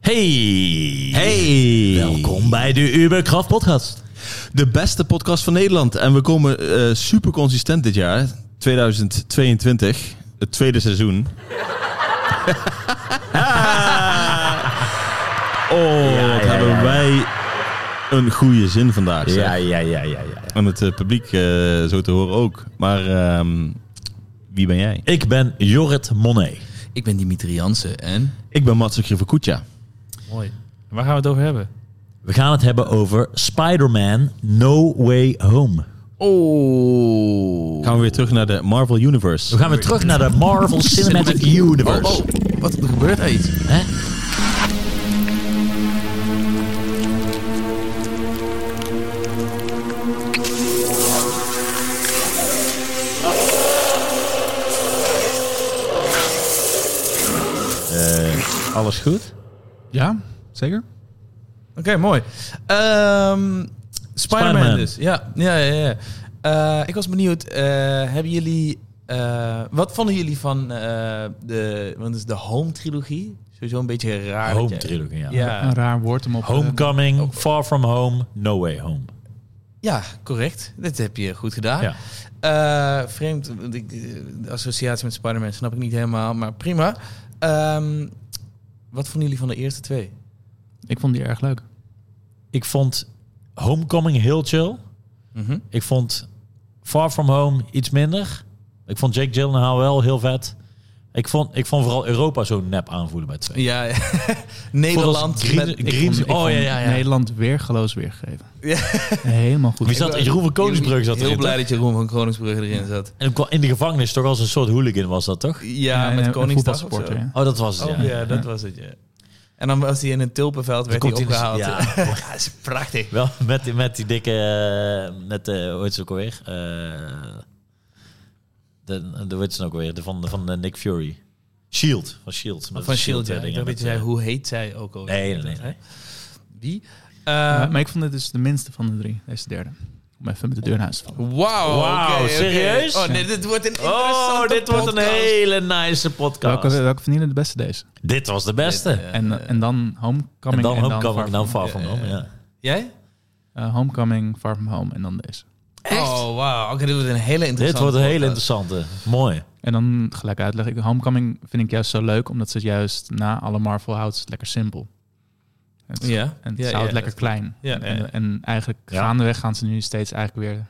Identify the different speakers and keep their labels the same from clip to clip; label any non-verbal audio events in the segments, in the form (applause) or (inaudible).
Speaker 1: Hey.
Speaker 2: Hey!
Speaker 1: Welkom bij de Uberkraft podcast.
Speaker 2: De beste podcast van Nederland. En we komen eh, super consistent dit jaar, 2022, het tweede
Speaker 1: (laughs)
Speaker 2: seizoen. oh, wat
Speaker 1: ja,
Speaker 2: hebben
Speaker 1: ja, ja.
Speaker 2: wij een goede zin vandaag. zeg.
Speaker 1: ja, ja, ja, ja.
Speaker 2: En het eh, publiek eh, zo te horen ook. Maar ehm, wie ben jij?
Speaker 1: Ik ben Jorrit Monet.
Speaker 3: Ik ben Dimitri Jansen en...
Speaker 2: Ik ben Mats Kutja.
Speaker 4: Mooi. En waar gaan we het over hebben?
Speaker 1: We gaan het hebben over Spider-Man No Way Home.
Speaker 3: Oh.
Speaker 2: Gaan we weer terug naar de Marvel Universe.
Speaker 1: We gaan weer terug naar de (laughs) Marvel Cinematic Universe.
Speaker 3: Oh, oh. Wat er gebeurt er iets?
Speaker 1: Hè?
Speaker 2: Alles goed?
Speaker 4: Ja, zeker.
Speaker 3: Oké, mooi. Ehm Spider-Man
Speaker 1: Spider-Man.
Speaker 3: dus. Ja, ja, ja. ja. Eh, ik was benieuwd, eh, hebben jullie... eh, wat vonden jullie van eh, de, want het is de Home-trilogie? Sowieso een beetje raar. dat
Speaker 1: Home
Speaker 3: jij-
Speaker 1: trilogie, ja. Oh.
Speaker 3: Ja,
Speaker 4: Een raar woord om op... eh,
Speaker 1: Homecoming, Far From Home, No Way Home.
Speaker 3: ja, correct. Dit heb je goed gedaan.
Speaker 1: Ja.
Speaker 3: Eh, vreemd, want ik, eh, de associatie met Spider-Man snap ik niet helemaal, maar prima. Ehm, wat vonden jullie van de eerste twee?
Speaker 4: Ik vond die erg leuk.
Speaker 1: Ik vond Homecoming heel chill.
Speaker 3: Mhm.
Speaker 1: Ik vond Far From Home iets minder. Ik vond Jake Gyllenhaal wel heel vet. Ik vond, ik vond vooral Europa zo nep aanvoelen bij twee.
Speaker 3: Ja, (laughs) Nederland.
Speaker 1: Volgens Green-
Speaker 3: met-
Speaker 4: Ik
Speaker 1: Green-
Speaker 4: vond- ik
Speaker 1: oh,
Speaker 4: vond
Speaker 1: ja, ja, ja.
Speaker 4: Nederland weergeloos weergegeven.
Speaker 3: Ja.
Speaker 4: Helemaal goed.
Speaker 1: Wie zat er? Jeroen van Koningsbrugge zat
Speaker 3: Heel
Speaker 1: erin,
Speaker 3: blij
Speaker 1: toch?
Speaker 3: dat Jeroen van Koningsbrugge erin zat.
Speaker 1: En kwam in de gevangenis toch als een soort hooligan was dat toch?
Speaker 3: Ja,
Speaker 4: en
Speaker 3: met
Speaker 4: een
Speaker 3: Koningsdag of zo.
Speaker 4: voetbalsporter, ja.
Speaker 1: Oh, dat was het,
Speaker 3: Oh
Speaker 1: ja.
Speaker 3: ja, dat was het, ja. En dan was hij in een tulpenveld, werd
Speaker 1: Dan
Speaker 3: hij
Speaker 1: komt hij
Speaker 3: opgehaald.
Speaker 1: dus-
Speaker 3: (laughs) Ja, dat is prachtig.
Speaker 1: Wel, met, die- met die dikke... eh, Met, eh hoe heet ze ook alweer? Eh, de, de, hoe heet ze nou ook alweer? De van, de, van eh, Nick Fury. Shield. Van Shield. Met
Speaker 3: Van
Speaker 1: de
Speaker 3: Shield, ja.
Speaker 1: eh,
Speaker 3: Ik
Speaker 1: dingen
Speaker 3: dacht dat je
Speaker 1: met,
Speaker 3: zei,
Speaker 1: eh,
Speaker 3: hoe heet zij ook al?
Speaker 1: Nee, nee, nee, nee.
Speaker 3: Wie?
Speaker 4: Maar,
Speaker 3: Eh,
Speaker 4: maar ik vond dit dus de minste van de drie. Deze derde. Om even met de deur naar huis te vallen.
Speaker 3: Wauw,
Speaker 1: Wauw,
Speaker 3: oké, oké.
Speaker 1: serieus?
Speaker 3: Oh, nee, dit wordt een interessante
Speaker 1: Oh, dit wordt een
Speaker 3: podcast.
Speaker 1: hele nice podcast.
Speaker 4: Welke, welke vinden jullie de beste deze?
Speaker 1: Dit was de beste.
Speaker 3: Dit, eh,
Speaker 4: En, en dan Homecoming.
Speaker 1: en dan oh, nou,
Speaker 4: Far
Speaker 1: Homecoming,
Speaker 4: From
Speaker 1: en dan Far
Speaker 3: Ja,
Speaker 1: From
Speaker 3: ja,
Speaker 1: Home,
Speaker 3: ja.
Speaker 1: ja.
Speaker 3: Jij?
Speaker 4: Home. Eh, homecoming, Far From Home en dan deze.
Speaker 3: Oh, wauw. Oké, dit wordt een hele interessante
Speaker 1: Dit wordt een hele
Speaker 3: podcast.
Speaker 1: interessante. Mooi.
Speaker 4: En dan gelijk uitleggen. Homecoming vind ik juist zo leuk, omdat ze het juist na alle Marvel houdt ze het lekker simpel. Het,
Speaker 3: Ja.
Speaker 4: En ze
Speaker 3: ja,
Speaker 4: houdt het
Speaker 3: ja,
Speaker 4: lekker klein.
Speaker 3: Ja,
Speaker 4: en,
Speaker 3: ja,
Speaker 4: en,
Speaker 3: ja.
Speaker 4: en eigenlijk
Speaker 1: Ja.
Speaker 4: gaandeweg gaan ze nu steeds eigenlijk weer,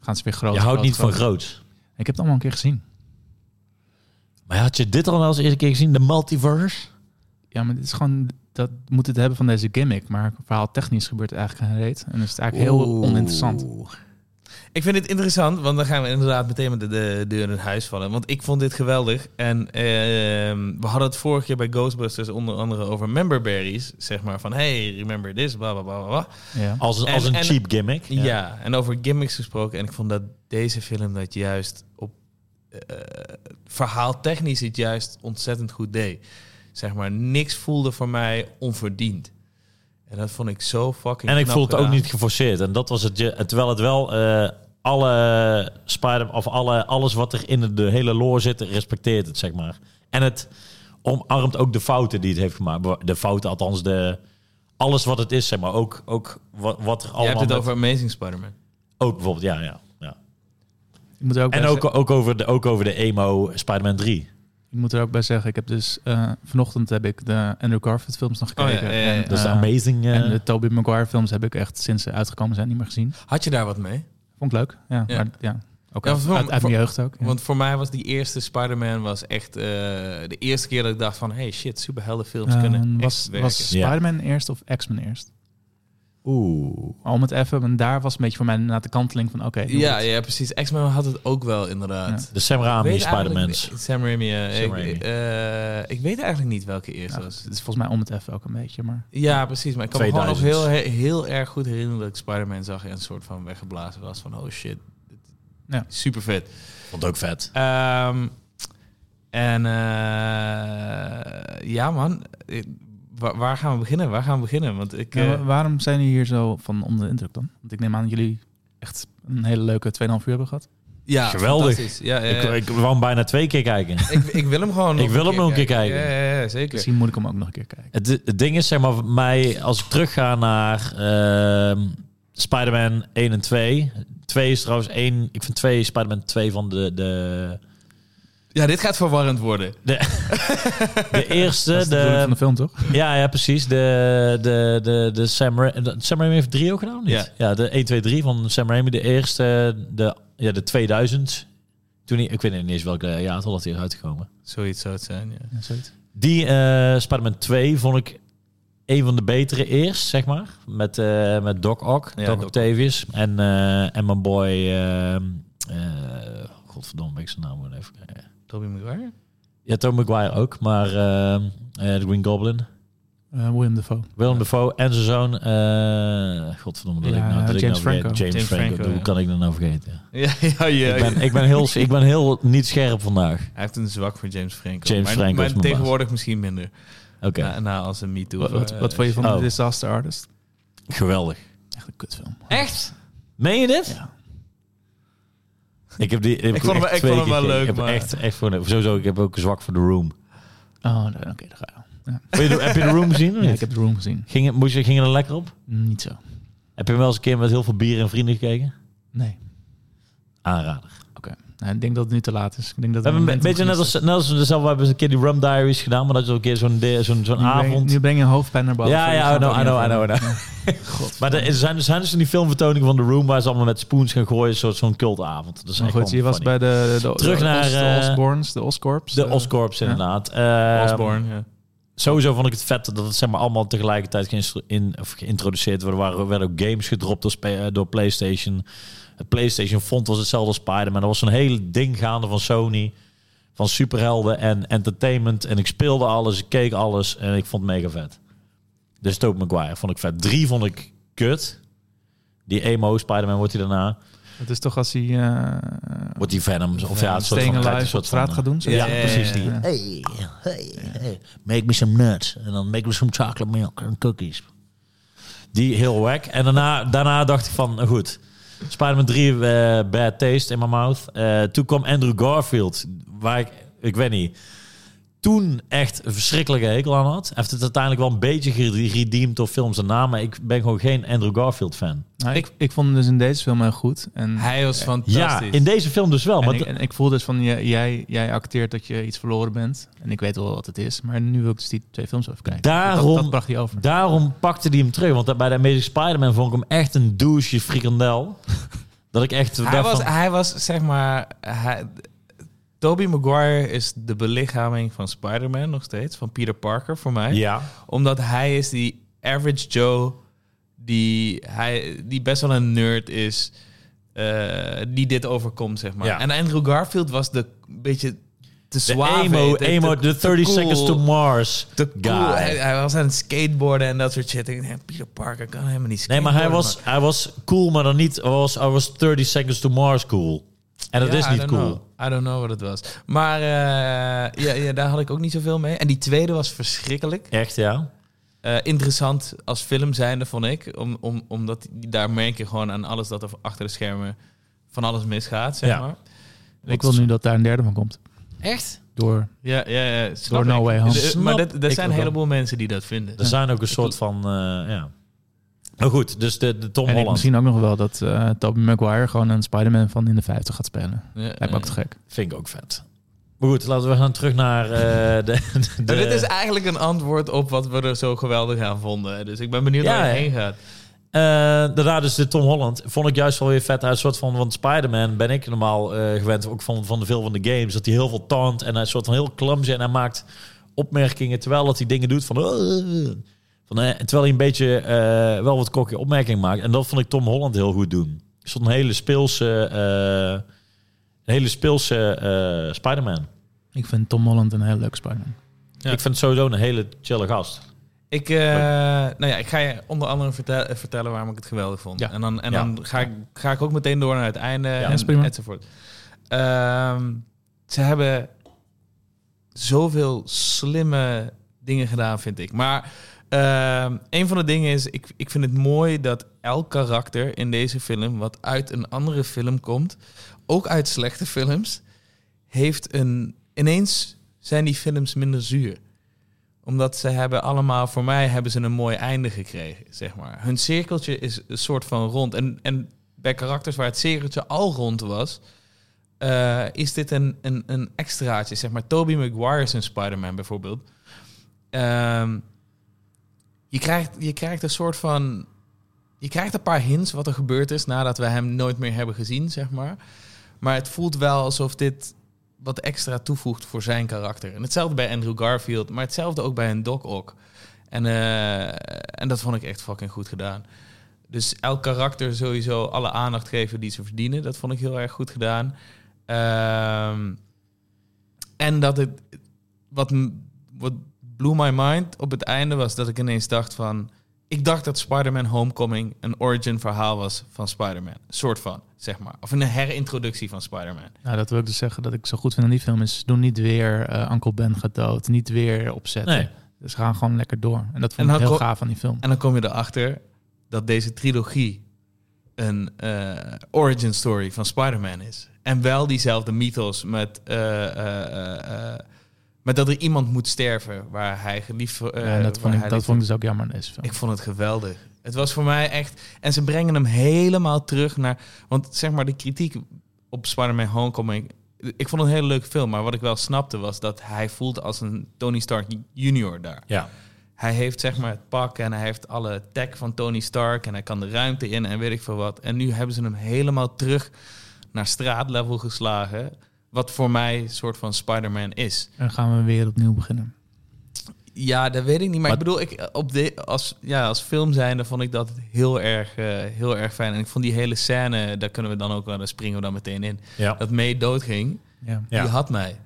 Speaker 4: gaan ze weer groot.
Speaker 1: Je houdt niet van
Speaker 4: groot.
Speaker 1: groots.
Speaker 4: Ik heb het allemaal een keer gezien.
Speaker 1: Maar had je dit al wel eens eerder keer gezien? De multiverse?
Speaker 4: Ja, maar dit is gewoon, dat moet het hebben van deze gimmick. Maar verhaal technisch gebeurt er eigenlijk geen reet. En dan is het eigenlijk heel oninteressant.
Speaker 3: Ik vind het interessant, want dan gaan we inderdaad meteen met de, de deur in huis vallen. Want ik vond dit geweldig. En ehm, we hadden het vorig jaar bij Ghostbusters onder andere over memberberries. Zeg maar van, hey, remember this, bla bla bla bla, bla.
Speaker 4: Ja.
Speaker 1: Als, een- als
Speaker 3: En-
Speaker 1: een
Speaker 3: en-
Speaker 1: cheap gimmick.
Speaker 3: Ja. en over gimmicks gesproken. En ik vond dat deze film dat juist op eh, verhaaltechnisch het juist ontzettend goed deed. Zeg maar, niks voelde voor mij onverdiend. En dat vond ik zo fucking
Speaker 1: En ik
Speaker 3: knap
Speaker 1: voel het ook
Speaker 3: gedaan.
Speaker 1: niet geforceerd. En dat was het. je- en Terwijl het wel eh, alle Spider of alle, alles wat er in de hele lore zit, respecteert het, zeg maar. En het omarmt ook de fouten die het heeft gemaakt. De fouten, althans, de, alles wat het is, zeg maar. Ook, ook wat, wat er allemaal.
Speaker 3: Je hebt het
Speaker 1: met-
Speaker 3: over Amazing Spider-Man.
Speaker 1: Ook bijvoorbeeld, ja, ja. ja.
Speaker 4: Ik moet er ook
Speaker 1: En
Speaker 4: bij
Speaker 1: ook, ook, over de, ook over de emo Spider-Man 3.
Speaker 4: Ik moet er ook bij zeggen, ik heb dus eh, vanochtend heb ik de Andrew Garfield films nog
Speaker 3: Oh, ja,
Speaker 4: gekeken.
Speaker 3: ja, ja, ja.
Speaker 4: En,
Speaker 1: Dat is de
Speaker 4: eh,
Speaker 1: amazing. eh,
Speaker 4: En de Tobey Maguire films heb ik echt sinds ze uitgekomen zijn niet meer gezien.
Speaker 3: Had je daar wat mee?
Speaker 4: Vond ik leuk. Ja,
Speaker 3: Ja.
Speaker 4: Maar, ja. Ook
Speaker 3: Ja,
Speaker 4: uit,
Speaker 3: voor-
Speaker 4: uit, uit
Speaker 3: voor-
Speaker 4: mijn jeugd ook. Ja.
Speaker 3: Want voor mij was die eerste Spider-Man was echt eh, de eerste keer dat ik dacht van... hey shit, superheldenfilms
Speaker 4: Eh,
Speaker 3: kunnen echt
Speaker 4: was,
Speaker 3: werken.
Speaker 4: was
Speaker 1: Ja.
Speaker 4: Spider-Man eerst of X-Men eerst?
Speaker 1: Oeh.
Speaker 4: Al met even, en daar was een beetje voor mij na de kanteling van oké. nu
Speaker 3: ja,
Speaker 4: wordt-
Speaker 3: ja, precies. X-Men had het ook wel inderdaad.
Speaker 1: De Sam Raimi
Speaker 3: Weet
Speaker 1: Spider-Mans.
Speaker 3: eigenlijk- Sam Raimi. ja.
Speaker 1: Sam
Speaker 3: ik,
Speaker 1: Raimi.
Speaker 3: eh, ik weet eigenlijk niet welke eerste
Speaker 4: ja,
Speaker 3: was.
Speaker 4: het is volgens mij om het even ook een beetje, maar
Speaker 3: Ja, precies. Maar ik kan me gewoon nog
Speaker 1: 2000.
Speaker 3: heel, heel erg goed herinneren dat ik Spider-Man zag... en een soort van weggeblazen was van oh shit.
Speaker 4: Ja.
Speaker 3: Super vet.
Speaker 1: Vond ook vet.
Speaker 3: Ehm, en eh, ja, man. Ik- Waar, waar gaan we beginnen? Waar gaan we beginnen? Want ik.
Speaker 4: Ja,
Speaker 3: eh,
Speaker 4: wa- waarom zijn jullie hier zo van onder de indruk dan? Want ik neem aan dat jullie echt een hele leuke 2,5 uur hebben gehad.
Speaker 3: Ja,
Speaker 1: Geweldig.
Speaker 3: fantastisch. Ja, ja,
Speaker 1: Ik,
Speaker 3: ja.
Speaker 1: ik wou hem bijna twee keer kijken.
Speaker 3: ik, ik wil hem gewoon nog
Speaker 1: (laughs) Ik wil hem nog een keer kijken.
Speaker 3: Ja, ja, ja, zeker.
Speaker 4: Misschien moet ik hem ook nog een keer kijken.
Speaker 1: Het, het ding is, zeg maar, voor mij, als ik terugga naar ehm Spider-Man 1 en 2. 2 is trouwens één. Ik vind 2 Spider-Man 2 van de. de
Speaker 3: Ja, dit gaat verwarrend worden.
Speaker 4: (laughs)
Speaker 1: de eerste,
Speaker 4: Dat is de, bedoeling van de film, toch?
Speaker 1: ja, ja, precies. De, de, de, de Sam, Ra- de- Sam Raimi heeft drie ook gedaan, of niet?
Speaker 3: Ja.
Speaker 1: de 1, 2, 3 van Sam Raimi. De eerste, de, ja, de 2000. Toen hij, ik weet niet eens welke jaartal dat hij is uitgekomen.
Speaker 3: Zoiets zou het zijn, ja.
Speaker 4: Ja, zoiets.
Speaker 1: Die eh Spider-Man 2 vond ik een van de betere eerst, zeg maar. Met, eh, met Doc Ock,
Speaker 3: Ja,
Speaker 1: Doc
Speaker 3: Doc
Speaker 1: Octavius. En, eh, en mijn boy... eh, eh, godverdomme, ben ik zijn naam gewoon even... kwijt.
Speaker 3: Tobey Maguire?
Speaker 1: Ja, Tom McGuire ook, maar eh, eh, de Green Goblin.
Speaker 4: Eh, William Dafoe.
Speaker 1: Willem Dafoe en zijn zoon... eh godverdomme, dat
Speaker 4: Ja,
Speaker 1: ik nou, dat ik nou vergeet.
Speaker 4: James Franco.
Speaker 1: James,
Speaker 3: James
Speaker 1: Franco,
Speaker 3: Franco,
Speaker 1: hoe
Speaker 3: ja.
Speaker 1: kan ik dat nou vergeten?
Speaker 3: (laughs) Ja, ja, ja.
Speaker 1: Ik, ben, ik, ben heel, ik ben heel niet scherp vandaag.
Speaker 3: Hij heeft een zwak voor James Franco.
Speaker 1: James
Speaker 3: maar,
Speaker 1: Franco is
Speaker 3: maar
Speaker 1: mijn baas.
Speaker 3: tegenwoordig misschien minder.
Speaker 1: Oké,
Speaker 3: Na, na als een MeToo.
Speaker 4: Wat, wat,
Speaker 3: eh,
Speaker 4: wat vond je van
Speaker 1: Oh.
Speaker 4: The Disaster Artist?
Speaker 1: geweldig.
Speaker 4: Echt een kutfilm.
Speaker 1: Echt? Meen je dit?
Speaker 4: Ja.
Speaker 1: Ik heb die.
Speaker 3: Ik vond hem- ik vond hem wel leuk,
Speaker 1: Ik heb
Speaker 3: maar-
Speaker 1: echt, echt voor, sowieso. Ik heb ook zwak voor de room.
Speaker 4: Oh, nee, oké, daar ga je al.
Speaker 1: Wil je de- heb je de
Speaker 3: (laughs)
Speaker 1: room gezien? Of
Speaker 4: Ja,
Speaker 1: niet?
Speaker 4: ik heb The Room gezien.
Speaker 1: ging, het- moest je, ging je er lekker op?
Speaker 4: Mm, Niet zo.
Speaker 1: Heb je hem wel eens een keer met heel veel bier en vrienden gekeken?
Speaker 4: Nee.
Speaker 1: Aanrader.
Speaker 4: Nee, ik denk dat het nu te laat is. Ik denk dat
Speaker 1: We hebben een be-
Speaker 4: het
Speaker 1: beetje net als, net als we zelf we hebben eens een keer die rum diaries gedaan, maar dat is ook een keer zo'n de- zo'n zo'n
Speaker 4: Nu breng,
Speaker 1: avond.
Speaker 4: nu breng je een hoofdpijn naar boven.
Speaker 1: Ja,
Speaker 4: Je
Speaker 1: ja,
Speaker 4: gaat
Speaker 1: I know,
Speaker 4: ook
Speaker 1: I
Speaker 4: niet
Speaker 1: know, I
Speaker 4: over-
Speaker 1: know, I
Speaker 4: (laughs)
Speaker 1: know. Maar er is- zijn, zijn dus van die filmvertoningen van The Room waar ze allemaal met spoons gaan gooien, een soort zo'n cultavond. Dat is
Speaker 4: Maar
Speaker 1: echt
Speaker 4: goed,
Speaker 1: gewoon
Speaker 4: je was
Speaker 1: funny.
Speaker 4: bij de, de,
Speaker 1: Terug
Speaker 4: de,
Speaker 1: naar,
Speaker 4: Os- de
Speaker 1: eh,
Speaker 4: Osborns, de Oscorps.
Speaker 1: de
Speaker 4: eh,
Speaker 1: Oscorps
Speaker 4: ja.
Speaker 1: inderdaad. Eh,
Speaker 3: Osborne, ja.
Speaker 1: Sowieso vond ik het vet dat het zeg maar, allemaal tegelijkertijd geïnstru- in, of geïntroduceerd werd. Er waren- werden ook games gedropt door, spe- eh, door PlayStation. Het PlayStation font was hetzelfde als Spider-Man. Er was zo'n hele ding gaande van Sony. Van superhelden en entertainment. En ik speelde alles, ik keek alles en ik vond het mega vet. Dus Tobey Maguire vond ik vet. Drie vond ik kut. Die emo, Spider-Man wordt hij daarna.
Speaker 4: Dat is toch als hij eh
Speaker 1: Wordt die Venom. Of ja,
Speaker 4: ja,
Speaker 1: het soort van
Speaker 4: Staying
Speaker 1: kijk,
Speaker 4: Alive
Speaker 1: soort
Speaker 4: op straat
Speaker 1: van,
Speaker 4: gaat doen.
Speaker 1: eh,
Speaker 4: zoiets.
Speaker 1: Ja,
Speaker 3: Ja,
Speaker 1: precies
Speaker 3: ja,
Speaker 1: die. eh.
Speaker 4: ja.
Speaker 1: Hey, hey, hey, make me some nuts. En dan make me some chocolate milk and cookies. Die heel wack. En daarna, daarna dacht ik van, nou goed. Spider-Man 3, eh, bad taste in my mouth. Eh, toen kwam Andrew Garfield, waar ik, ik weet niet, toen echt een verschrikkelijke hekel aan had. Hij Heeft het uiteindelijk wel een beetje gere- geredeemd door films daarna, maar ik ben gewoon geen Andrew Garfield fan.
Speaker 4: Nou, ik, ik vond hem dus in deze film heel goed. En,
Speaker 3: Hij was
Speaker 1: Ja,
Speaker 3: fantastisch.
Speaker 1: in deze film dus wel.
Speaker 4: en,
Speaker 1: Maar
Speaker 4: ik, en ik voel dus van, jij- jij, jij acteert dat je iets verloren bent. En ik weet wel wat het is. Maar nu wil ik dus die twee films even kijken.
Speaker 1: Daarom-
Speaker 4: Dat, dat bracht hij over.
Speaker 1: Daarom pakte hij hem terug. Want bij de Amazing Spider-Man vond ik hem echt een douche frikandel. dat ik echt
Speaker 3: hij,
Speaker 1: dacht
Speaker 3: was,
Speaker 1: van,
Speaker 3: hij was, zeg maar... Hij, Tobey Maguire is de belichaming van Spider-Man nog steeds. Van Peter Parker, voor mij.
Speaker 1: Ja,
Speaker 3: Omdat hij is die average Joe die, hij, die best wel een nerd is. eh, die dit overkomt, zeg maar.
Speaker 1: Ja.
Speaker 3: En Andrew Garfield was de beetje te
Speaker 1: de
Speaker 3: zwaar.
Speaker 1: emo, emo, de 30 Seconds to Mars
Speaker 3: te cool.
Speaker 1: guy.
Speaker 3: Hij, hij was aan het skateboarden en dat soort shit. Ik denk, Peter Parker kan helemaal niet
Speaker 1: Nee,
Speaker 3: skateboarden.
Speaker 1: maar hij was,
Speaker 3: man.
Speaker 1: hij was cool, maar dan niet... Hij was, hij was 30 Seconds to Mars cool. En dat
Speaker 3: Ja,
Speaker 1: is
Speaker 3: I
Speaker 1: niet
Speaker 3: don't
Speaker 1: cool.
Speaker 3: Know. I don't know wat het was. Maar eh, ja, ja, daar had ik ook niet zoveel mee. En die tweede was verschrikkelijk.
Speaker 1: Echt, ja.
Speaker 3: Eh, interessant als film zijnde, vond ik. Om, om, omdat die- daar merk je gewoon aan alles dat er achter de schermen van alles misgaat, zeg
Speaker 1: Ja.
Speaker 3: maar.
Speaker 4: Ik wil nu dat daar een derde van komt.
Speaker 3: Echt?
Speaker 4: Door
Speaker 3: Ja, ja, ja. snap
Speaker 4: Door No
Speaker 3: ik.
Speaker 4: Way Home. Dus
Speaker 3: Dus, eh, maar
Speaker 1: Snap
Speaker 3: dat, er
Speaker 1: ik
Speaker 3: zijn een
Speaker 1: ook wel.
Speaker 3: heleboel mensen die dat vinden.
Speaker 1: Er zijn ook een soort van... eh, ja. Nou goed, dus de, de Tom
Speaker 4: En ik
Speaker 1: Holland.
Speaker 4: misschien ook nog wel dat eh Tobey Maguire gewoon een Spider-Man van in de 50 gaat spelen.
Speaker 3: Ja,
Speaker 4: Lijkt me ook te
Speaker 3: ja.
Speaker 4: gek.
Speaker 1: Vind ik ook vet. Maar goed, laten we gaan terug naar eh, de... de,
Speaker 3: Maar dit is eigenlijk een antwoord op wat we er zo geweldig aan vonden. Dus ik ben benieuwd
Speaker 1: Ja,
Speaker 3: waar het
Speaker 1: ja.
Speaker 3: heen gaat.
Speaker 1: Eh, daarna dus de Tom Holland. Vond ik juist wel weer vet. Hij is een soort van, want Spider-Man ben ik normaal eh, gewend. Ook van, van de veel van de games. Dat hij heel veel taunt. En hij is een soort van heel clumsy. En hij maakt opmerkingen terwijl dat hij dingen doet van... van eh, terwijl hij een beetje eh, wel wat kokje opmerkingen maakt. En dat vond ik Tom Holland heel goed doen. Er stond een hele speelse... eh, een hele speelse eh Spider-Man.
Speaker 4: Ik vind Tom Holland een heel leuk Spider-Man.
Speaker 3: Ja.
Speaker 1: Ik vind het sowieso een hele chille gast.
Speaker 3: Ik, eh, nou ja, ik ga je onder andere vertel- eh, vertellen waarom ik het geweldig vond.
Speaker 4: Ja.
Speaker 3: En dan, en
Speaker 1: Ja.
Speaker 3: dan ga, ik, ga ik ook meteen door naar het einde
Speaker 1: Ja,
Speaker 4: is prima.
Speaker 3: en enzovoort. Ehm, ze hebben zoveel slimme dingen gedaan, vind ik. Maar ehm, een van de dingen is, ik, ik vind het mooi dat elk karakter in deze film, wat uit een andere film komt, ook uit slechte films, heeft een... Ineens zijn die films minder zuur. Omdat ze hebben allemaal, voor mij hebben ze een mooi einde gekregen, zeg maar. Hun cirkeltje is een soort van rond. En, en bij karakters waar het cirkeltje al rond was, eh, is dit een, een, een extraatje. Zeg maar, Toby Maguire is een Spider-Man bijvoorbeeld. Ehm, je, krijgt, je krijgt een soort van... Je krijgt een paar hints wat er gebeurd is nadat we hem nooit meer hebben gezien, zeg maar. Maar het voelt wel alsof dit wat extra toevoegt voor zijn karakter. En hetzelfde bij Andrew Garfield, maar hetzelfde ook bij een Doc Ock. En, eh, en dat vond ik echt fucking goed gedaan. Dus elk karakter sowieso alle aandacht geven die ze verdienen. Dat vond ik heel erg goed gedaan. Ehm, en dat het... Wat, m- wat blew my mind op het einde was dat ik ineens dacht van... Ik dacht dat Spider-Man Homecoming een origin verhaal was van Spider-Man. Een soort van, zeg maar. Of een herintroductie van Spider-Man.
Speaker 4: Nou, dat wil ik dus zeggen dat ik zo goed vind aan die film is... doen niet weer eh Uncle Ben gaat dood, niet weer opzetten.
Speaker 1: Nee.
Speaker 4: Dus gaan gewoon lekker door. En dat
Speaker 3: En
Speaker 4: vond ik
Speaker 3: had
Speaker 4: heel
Speaker 3: ook-
Speaker 4: gaaf aan die film.
Speaker 3: En dan kom je erachter dat deze trilogie een eh, origin story van Spider-Man is. En wel diezelfde mythos met, eh, eh, eh, eh, met dat er iemand moet sterven waar hij geliefd voor... eh,
Speaker 4: Ja, en dat
Speaker 3: waar
Speaker 4: vond, ik,
Speaker 3: hij
Speaker 4: dat
Speaker 3: lief
Speaker 4: vond ik dus ook jammer aan deze film.
Speaker 3: Ik vond het geweldig. Het was voor mij echt. En ze brengen hem helemaal terug naar. Want zeg maar, de kritiek op Spider-Man Homecoming. Ik vond het een hele leuke film. Maar wat ik wel snapte was dat hij voelde als een Tony Stark junior daar.
Speaker 1: Ja.
Speaker 3: Hij heeft zeg maar het pak en hij heeft alle tech van Tony Stark. En hij kan de ruimte in en weet ik veel wat. En nu hebben ze hem helemaal terug naar straatlevel geslagen. Wat voor mij een soort van Spider-Man is.
Speaker 4: En gaan we weer opnieuw beginnen.
Speaker 3: Ja, dat weet ik niet. Maar,
Speaker 1: Maar-
Speaker 3: ik bedoel, ik, eh, op de, als, ja, als film zijnde vond ik dat heel erg, eh, heel erg fijn. En ik vond die hele scène, daar kunnen we dan ook wel, daar springen we dan meteen in.
Speaker 1: ja.
Speaker 3: Dat May doodging,
Speaker 4: Ja.
Speaker 1: Ja.
Speaker 3: die had mij.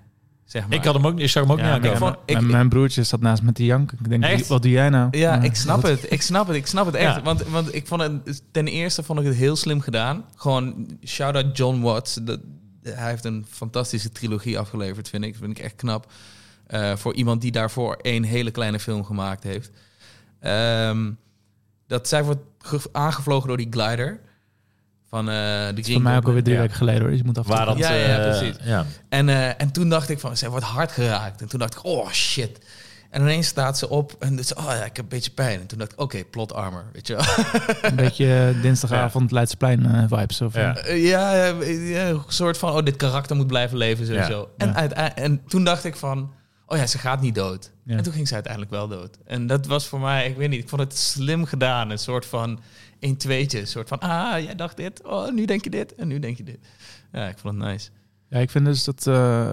Speaker 3: Zeg maar.
Speaker 1: Ik, had hem ook, ik zag hem ook
Speaker 4: Ja,
Speaker 1: niet
Speaker 4: maar
Speaker 1: aankomen.
Speaker 3: vond- ik-
Speaker 4: mijn- mijn broertje zat naast me te janken. Ik denk,
Speaker 1: Echt?
Speaker 4: wat doe jij nou?
Speaker 3: ja,
Speaker 4: Maar
Speaker 3: ik snap
Speaker 4: dat-
Speaker 3: het. Ik snap het. Ik
Speaker 4: (laughs)
Speaker 3: snap het echt.
Speaker 1: Ja.
Speaker 3: Want, want ik vond het, ten eerste vond ik het heel slim gedaan. Gewoon shout-out John Watts. Dat, hij heeft een fantastische trilogie afgeleverd, vind ik. vind ik echt knap. Eh, voor iemand die daarvoor één hele kleine film gemaakt heeft. Ehm, dat zij wordt ge- aangevlogen door die glider. Van eh, de
Speaker 4: Voor
Speaker 3: Green
Speaker 4: mij ook
Speaker 3: Goblin.
Speaker 4: alweer drie
Speaker 1: Ja.
Speaker 4: weken geleden hoor. Dus je moet af.
Speaker 1: Waar dat,
Speaker 3: Ja, ja,
Speaker 1: eh,
Speaker 3: precies.
Speaker 1: ja.
Speaker 3: En, eh, en toen dacht ik van, zij wordt hard geraakt. En toen dacht ik, oh shit. En ineens staat ze op en dus, oh ja, ik heb een beetje pijn. En toen dacht ik, oké, plot armor, weet je wel.
Speaker 4: Een
Speaker 3: (laughs)
Speaker 4: beetje eh, dinsdagavond Leidseplein eh, vibes. Of,
Speaker 1: Ja.
Speaker 3: Eh, ja, eh, ja, een soort van, oh, dit karakter moet blijven leven, sowieso. En,
Speaker 4: Ja.
Speaker 3: uite- en toen dacht ik van, oh ja, ze gaat niet dood.
Speaker 4: Ja.
Speaker 3: En toen ging ze uiteindelijk wel dood. En dat was voor mij, ik weet niet, ik vond het slim gedaan. Een soort van een tweetje. Een soort van, ah, jij dacht dit. Oh, nu denk je dit. En nu denk je dit. Ja, ik vond het nice.
Speaker 4: Ja, ik vind dus dat eh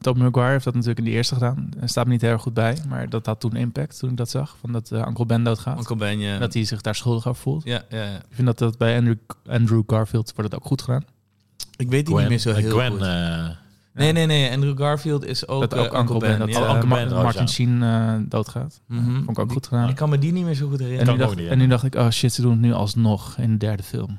Speaker 4: Tobey Maguire heeft dat natuurlijk in de eerste gedaan. Er staat me niet heel erg goed bij, maar dat had toen impact toen ik dat zag. Van dat eh Uncle Ben doodgaat.
Speaker 3: Uncle Ben, ja.
Speaker 4: Dat hij zich daar schuldig over voelt.
Speaker 3: ja, ja, ja.
Speaker 4: Ik vind dat, dat bij Andrew, Andrew Garfield wordt het ook goed gedaan.
Speaker 3: Ik weet die
Speaker 1: Gwen,
Speaker 3: niet meer zo
Speaker 1: eh,
Speaker 3: heel
Speaker 1: Gwen,
Speaker 3: goed.
Speaker 1: eh,
Speaker 3: nee, nee, nee. Andrew Garfield is ook,
Speaker 4: dat
Speaker 3: eh,
Speaker 4: ook Uncle Ben, dat
Speaker 3: ja.
Speaker 4: eh,
Speaker 1: Uncle Ben
Speaker 4: Ma-
Speaker 1: trouwens,
Speaker 4: Martin
Speaker 1: ja.
Speaker 4: Sheen eh, doodgaat.
Speaker 3: Mhm.
Speaker 4: Vond ik ook
Speaker 3: Die-
Speaker 4: goed gedaan.
Speaker 3: Ik kan me die niet meer zo goed
Speaker 4: En
Speaker 3: herinneren.
Speaker 4: nu,
Speaker 1: ook
Speaker 4: dacht,
Speaker 1: niet, ja.
Speaker 4: en nu dacht ik, oh shit, ze doen het nu alsnog in de derde film.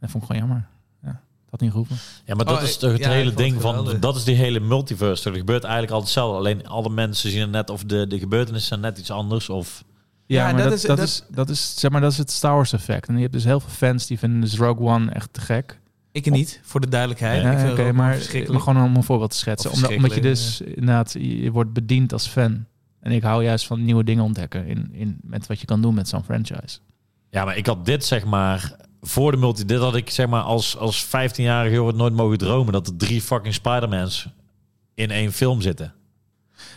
Speaker 4: Dat vond ik gewoon jammer. Ja, dat had niet geroepen.
Speaker 1: Ja, maar dat
Speaker 3: Oh,
Speaker 1: is
Speaker 3: ik-
Speaker 1: toch het
Speaker 3: ja, ik
Speaker 1: hele
Speaker 3: vond het
Speaker 1: ding van...
Speaker 3: geweldig.
Speaker 1: Dat is die hele multiverse. toch? Er gebeurt eigenlijk altijd hetzelfde. Alleen alle mensen zien het net... Of de, de gebeurtenissen zijn net iets anders. Of,
Speaker 4: Ja,
Speaker 3: Ja, dat
Speaker 4: maar dat,
Speaker 3: is-
Speaker 4: dat,
Speaker 3: dat-
Speaker 4: is, dat is zeg maar dat is het Star Wars effect. En je hebt dus heel veel fans die vinden dus Rogue One echt te gek.
Speaker 3: Ik niet, voor de duidelijkheid.
Speaker 4: Ja,
Speaker 3: Ik vind
Speaker 4: Oké,
Speaker 3: Rogue
Speaker 4: maar,
Speaker 3: verschrikkelijk.
Speaker 4: maar gewoon om een voorbeeld te schetsen.
Speaker 3: Of
Speaker 4: Omdat, omdat je dus
Speaker 3: verschrikkelijk,
Speaker 4: inderdaad, je je wordt bediend als fan. En ik hou juist van nieuwe dingen ontdekken in, in, met wat je kan doen met zo'n franchise.
Speaker 1: ja, maar ik had dit zeg maar... Voor de multi... Dit had ik zeg maar als, als 15-jarige jongen nooit mogen dromen... dat er drie fucking Spider-Mans in één film zitten.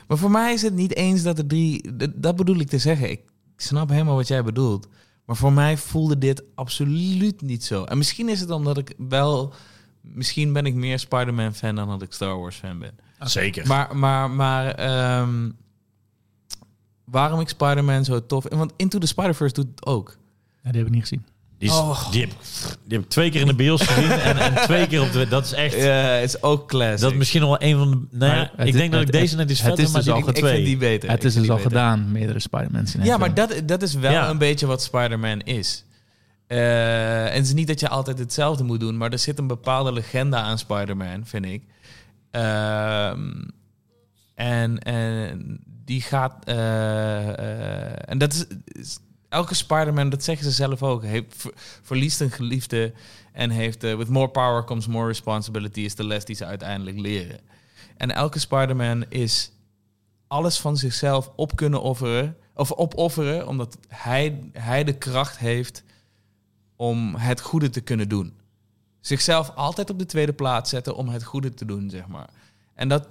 Speaker 3: Maar voor mij is het niet eens dat er drie. d- Dat bedoel ik te zeggen. Ik snap helemaal wat jij bedoelt. Maar voor mij voelde dit absoluut niet zo. En misschien is het omdat ik wel. Misschien ben ik meer Spider-Man fan dan dat ik Star Wars fan ben.
Speaker 1: Zeker.
Speaker 3: Maar, maar, maar ehm, waarom ik Spider-Man zo tof. en Want Into the Spider-Verse doet het ook.
Speaker 4: Ja, die heb ik niet gezien.
Speaker 1: Die, is-
Speaker 3: Oh.
Speaker 1: die, heb, die heb ik twee keer in de bios
Speaker 3: (laughs)
Speaker 1: gezien. en, en twee keer op de... Dat is echt...
Speaker 3: Ja, het is ook classic.
Speaker 1: Dat is misschien wel een van de... Nou ja,
Speaker 4: Maar het
Speaker 1: ik
Speaker 4: is-
Speaker 1: denk dat ik
Speaker 4: het-
Speaker 1: deze net iets
Speaker 4: het
Speaker 1: verder...
Speaker 4: is
Speaker 1: maar
Speaker 4: dus
Speaker 1: die
Speaker 4: al
Speaker 1: heb ik
Speaker 3: ik vind
Speaker 1: twee.
Speaker 3: die beter.
Speaker 4: het
Speaker 3: Ik vind
Speaker 4: is dus
Speaker 3: die
Speaker 4: al
Speaker 3: beter.
Speaker 4: gedaan, meerdere Spider-Mans in één
Speaker 3: Ja, maar
Speaker 4: film.
Speaker 3: dat, dat is wel
Speaker 1: Ja.
Speaker 3: een beetje wat Spider-Man is. Eh, en het is niet dat je altijd hetzelfde moet doen, maar er zit een bepaalde legende aan Spider-Man, vind ik. Ehm, en, en die gaat. eh, eh, en dat is, is- Elke Spider-Man, dat zeggen ze zelf ook, heeft, ver- verliest een geliefde en heeft... eh, with more power comes more responsibility is de les die ze uiteindelijk leren. En elke Spider-Man is alles van zichzelf op kunnen offeren... of opofferen, omdat hij, hij de kracht heeft om het goede te kunnen doen. Zichzelf altijd op de tweede plaats zetten om het goede te doen, zeg maar. En dat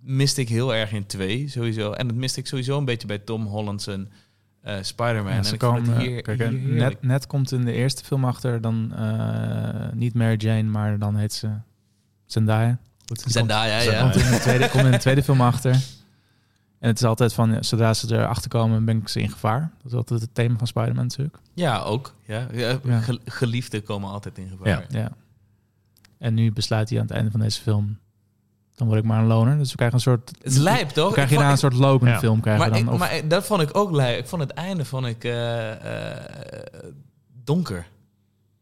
Speaker 3: miste ik heel erg in twee, sowieso. En dat miste ik sowieso een beetje bij Tom Holland's eh Spider-Man.
Speaker 4: Ja,
Speaker 3: en
Speaker 4: ze
Speaker 3: ik vond
Speaker 4: komen, eh,
Speaker 3: het hier,
Speaker 4: kijk, hè,
Speaker 3: hier heerlijk.
Speaker 4: net, net komt in de eerste film achter, dan eh, niet Mary Jane, maar dan heet ze Zendaya. Goed, die
Speaker 3: Zendaya,
Speaker 1: Zendaya.
Speaker 3: ja.
Speaker 4: komt, komt in de tweede, komt in de tweede film achter. En het is altijd van, ja, zodra ze erachter komen, ben ik ze in gevaar. Dat is altijd het thema van Spider-Man natuurlijk.
Speaker 3: Ja, ook. Ja. Ja,
Speaker 4: Ja.
Speaker 3: ge- Geliefden komen altijd in gevaar.
Speaker 1: Ja.
Speaker 4: Ja. En nu besluit hij aan het einde van deze film, dan word ik maar een loner. Dus we krijgen een soort...
Speaker 3: Het is lijp, toch?
Speaker 4: We krijgen
Speaker 3: Oh, Ik
Speaker 4: hierna een
Speaker 3: vond-
Speaker 4: soort Logan
Speaker 1: Ja.
Speaker 4: film. Krijgen we
Speaker 3: maar,
Speaker 4: dan,
Speaker 3: ik,
Speaker 4: of-
Speaker 3: maar ik- dat vond ik ook lijp. Ik vond het einde vond ik, eh, eh, donker.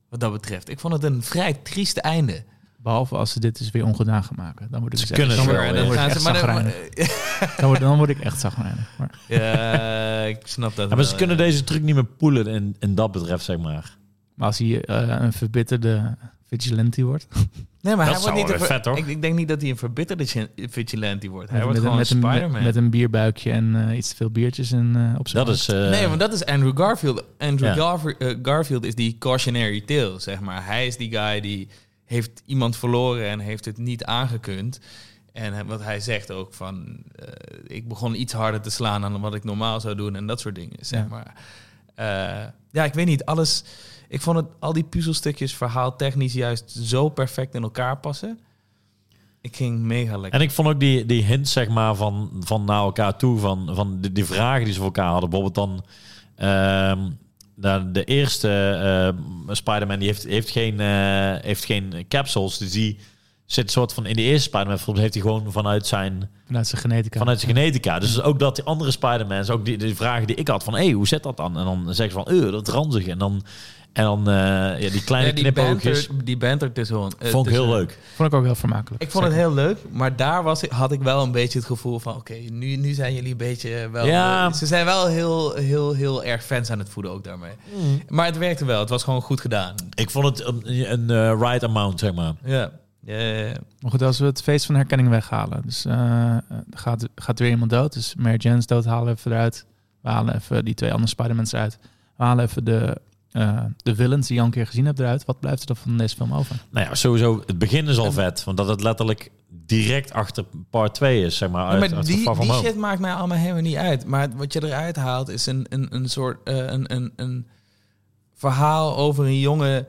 Speaker 3: Wat dat betreft. Ik vond het een vrij triest einde.
Speaker 4: behalve als ze dit dus weer ongedaan gaan maken. Dan word ik,
Speaker 1: Ze
Speaker 4: dus echt,
Speaker 1: kunnen
Speaker 4: dan
Speaker 1: het
Speaker 4: word,
Speaker 1: wel,
Speaker 4: dan
Speaker 1: ja.
Speaker 4: word ik
Speaker 3: Gaan
Speaker 4: echt
Speaker 3: ze- maar- (laughs)
Speaker 4: zagrijnig. Dan word, dan word ik echt zagrijnig. Maar-
Speaker 3: Ja, (laughs) ik snap dat.
Speaker 1: Ja, maar ze
Speaker 3: wel,
Speaker 1: kunnen
Speaker 3: ja.
Speaker 1: deze truc niet meer poelen in, in dat betreft, zeg maar.
Speaker 4: Maar als hij eh, een verbitterde vigilante wordt,
Speaker 3: Nee, maar
Speaker 1: Dat
Speaker 3: hij wordt
Speaker 1: zou
Speaker 3: niet een
Speaker 1: wel
Speaker 3: ver-
Speaker 1: vet, hoor.
Speaker 3: Ik, ik denk niet dat hij een verbitterde gin- vigilante wordt. Hij
Speaker 4: met,
Speaker 3: wordt
Speaker 4: met,
Speaker 3: gewoon
Speaker 4: met een, met,
Speaker 3: Spider-Man.
Speaker 4: met een bierbuikje en eh, iets te veel biertjes en, eh, op zijn
Speaker 1: Dat is... eh,
Speaker 3: nee, want dat is Andrew Garfield.
Speaker 1: Ja.
Speaker 3: Andrew Garf- eh, Garfield is die cautionary tale, zeg maar. Hij is die guy die heeft iemand verloren en heeft het niet aangekund. En hij- wat hij zegt ook van... eh, ik begon iets harder te slaan dan wat ik normaal zou doen en dat soort dingen, zeg
Speaker 4: Ja.
Speaker 3: maar. Eh, ja, ik weet niet, alles... Ik vond het, al die puzzelstukjes verhaaltechnisch juist zo perfect in elkaar passen. Ik ging mega
Speaker 1: En
Speaker 3: lekker.
Speaker 1: ik vond ook die, die hint, zeg maar, van, van naar elkaar toe, van, van die, die vragen die ze voor elkaar hadden. Bijvoorbeeld dan, ehm, nou, de eerste ehm, Spider-Man, die heeft, heeft, geen, eh, heeft geen capsules. Dus die zit soort van, in de eerste Spider-Man film heeft hij gewoon vanuit zijn,
Speaker 4: vanuit zijn genetica.
Speaker 1: eh, vanuit zijn genetica. Dus ook dat die andere Spider-Mans, ook die, die vragen die ik had van, hé, hey, hoe zit dat dan? En dan zeggen ze van, eh, dat is ranzig. En dan, en dan eh, ja, die kleine
Speaker 3: Ja, die
Speaker 1: knipoogjes.
Speaker 3: banter- Die banter tussen ons. eh,
Speaker 1: Vond ik heel
Speaker 3: tussen-
Speaker 1: leuk.
Speaker 4: Vond ik ook heel vermakelijk.
Speaker 3: Ik vond het heel leuk, maar daar was, ik- had ik wel een beetje het gevoel van... oké, nu, nu zijn jullie een beetje eh, wel...
Speaker 1: Ja.
Speaker 3: eh, Ze zijn wel heel, heel, heel erg fans aan het voeden ook daarmee. Maar het werkte wel, het was gewoon goed gedaan.
Speaker 1: Ik vond het een, een eh, right amount, zeg maar.
Speaker 3: Ja, ja, ja, ja.
Speaker 4: Maar goed, als we het feest van herkenning weghalen. Dus eh, eh, gaat, gaat weer iemand dood. Dus Mary Jane's dood halen we even eruit. We halen even die twee andere Spider-Mans eruit. We halen even de, eh, de villains die je al een keer gezien hebt eruit. Wat blijft er dan van deze film over?
Speaker 1: Nou ja, sowieso, het begin is al vet. Want dat het letterlijk direct achter part 2 is, zeg maar.
Speaker 3: Ja,
Speaker 1: Uit,
Speaker 3: maar
Speaker 1: uit
Speaker 3: die,
Speaker 1: Far From
Speaker 3: die
Speaker 1: Home.
Speaker 3: shit maakt mij allemaal helemaal niet uit. Maar wat je eruit haalt is een, een, een soort eh, een, een, een verhaal over een jongen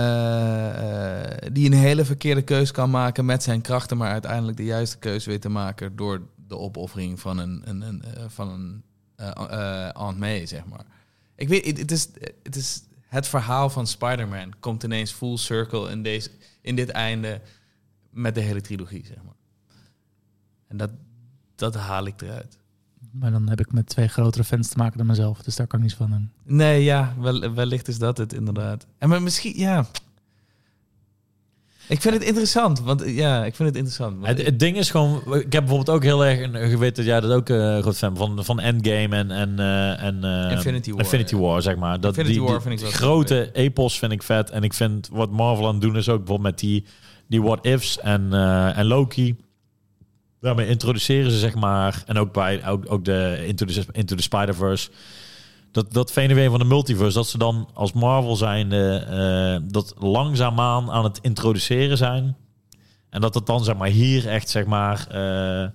Speaker 3: eh, eh, die een hele verkeerde keus kan maken met zijn krachten, maar uiteindelijk de juiste keus weet te maken door de opoffering van een, een, een, eh, van een eh, eh, Aunt May, zeg maar. Ik weet, het, het is, het is het verhaal van Spider-Man komt ineens full circle in, deze, in dit einde met de hele trilogie, zeg maar. En dat, dat haal ik eruit.
Speaker 4: Maar dan heb ik met twee grotere fans te maken dan mezelf. Dus daar kan ik niets van doen.
Speaker 3: Nee, ja, wel, wellicht is dat het inderdaad. En maar misschien, ja. Ik vind het interessant, want eh, ja, ik vind het interessant. want
Speaker 1: Het,
Speaker 3: ik-
Speaker 1: het ding is gewoon, ik heb bijvoorbeeld ook heel erg een- geweten dat jij dat ook eh groot fan van van Endgame en en eh, en eh,
Speaker 3: Infinity War,
Speaker 1: Infinity
Speaker 3: ja.
Speaker 1: War, zeg maar. Dat
Speaker 3: Infinity
Speaker 1: die,
Speaker 3: War
Speaker 1: die
Speaker 3: vind ik wel
Speaker 1: grote epos vind ik vet en ik vind wat Marvel aan het doen is ook bijvoorbeeld met die die what ifs en eh, en Loki. Daarmee introduceren ze zeg maar en ook bij ook, ook de Into the, Into the Spider-Verse dat, dat fenomeen van de multiverse, dat ze dan als Marvel zijn, eh, eh, dat langzaamaan aan het introduceren zijn. En dat het dan zeg maar, hier echt zeg maar, eh,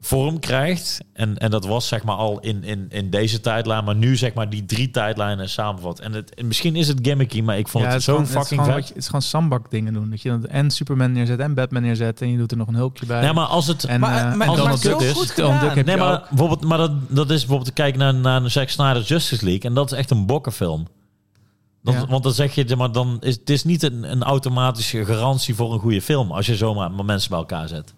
Speaker 1: vorm krijgt. En, en dat was zeg maar, al in, in, in deze tijdlijn, maar nu zeg maar, die drie tijdlijnen samenvat. En het, en misschien is het gimmicky, maar ik vond het, zo
Speaker 4: gewoon- is
Speaker 1: fucking
Speaker 4: gewoon,
Speaker 1: vet.
Speaker 4: wat je- Het is gewoon sambak dingen doen. Dat je dan en Superman neerzet en Batman neerzet. En je doet er nog een hulkje bij.
Speaker 1: Nee, maar als het...
Speaker 4: en,
Speaker 3: Maar-
Speaker 4: eh,
Speaker 3: maar-
Speaker 4: en
Speaker 3: maar
Speaker 4: Donald
Speaker 1: het is
Speaker 4: Duck
Speaker 1: zo
Speaker 4: dus.
Speaker 3: goed
Speaker 4: Donald Duck
Speaker 3: gedaan.
Speaker 4: heb
Speaker 1: Nee,
Speaker 4: je
Speaker 1: maar,
Speaker 4: ook.
Speaker 1: bijvoorbeeld, maar dat, dat is bijvoorbeeld te kijken naar, naar een Zack Snyder's Justice League. En dat is echt een bokkenfilm. Dan,
Speaker 4: Ja.
Speaker 1: Want dan zeg je, maar dan is, het is niet een, een automatische garantie voor een goede film. Als je zomaar maar mensen bij elkaar zet.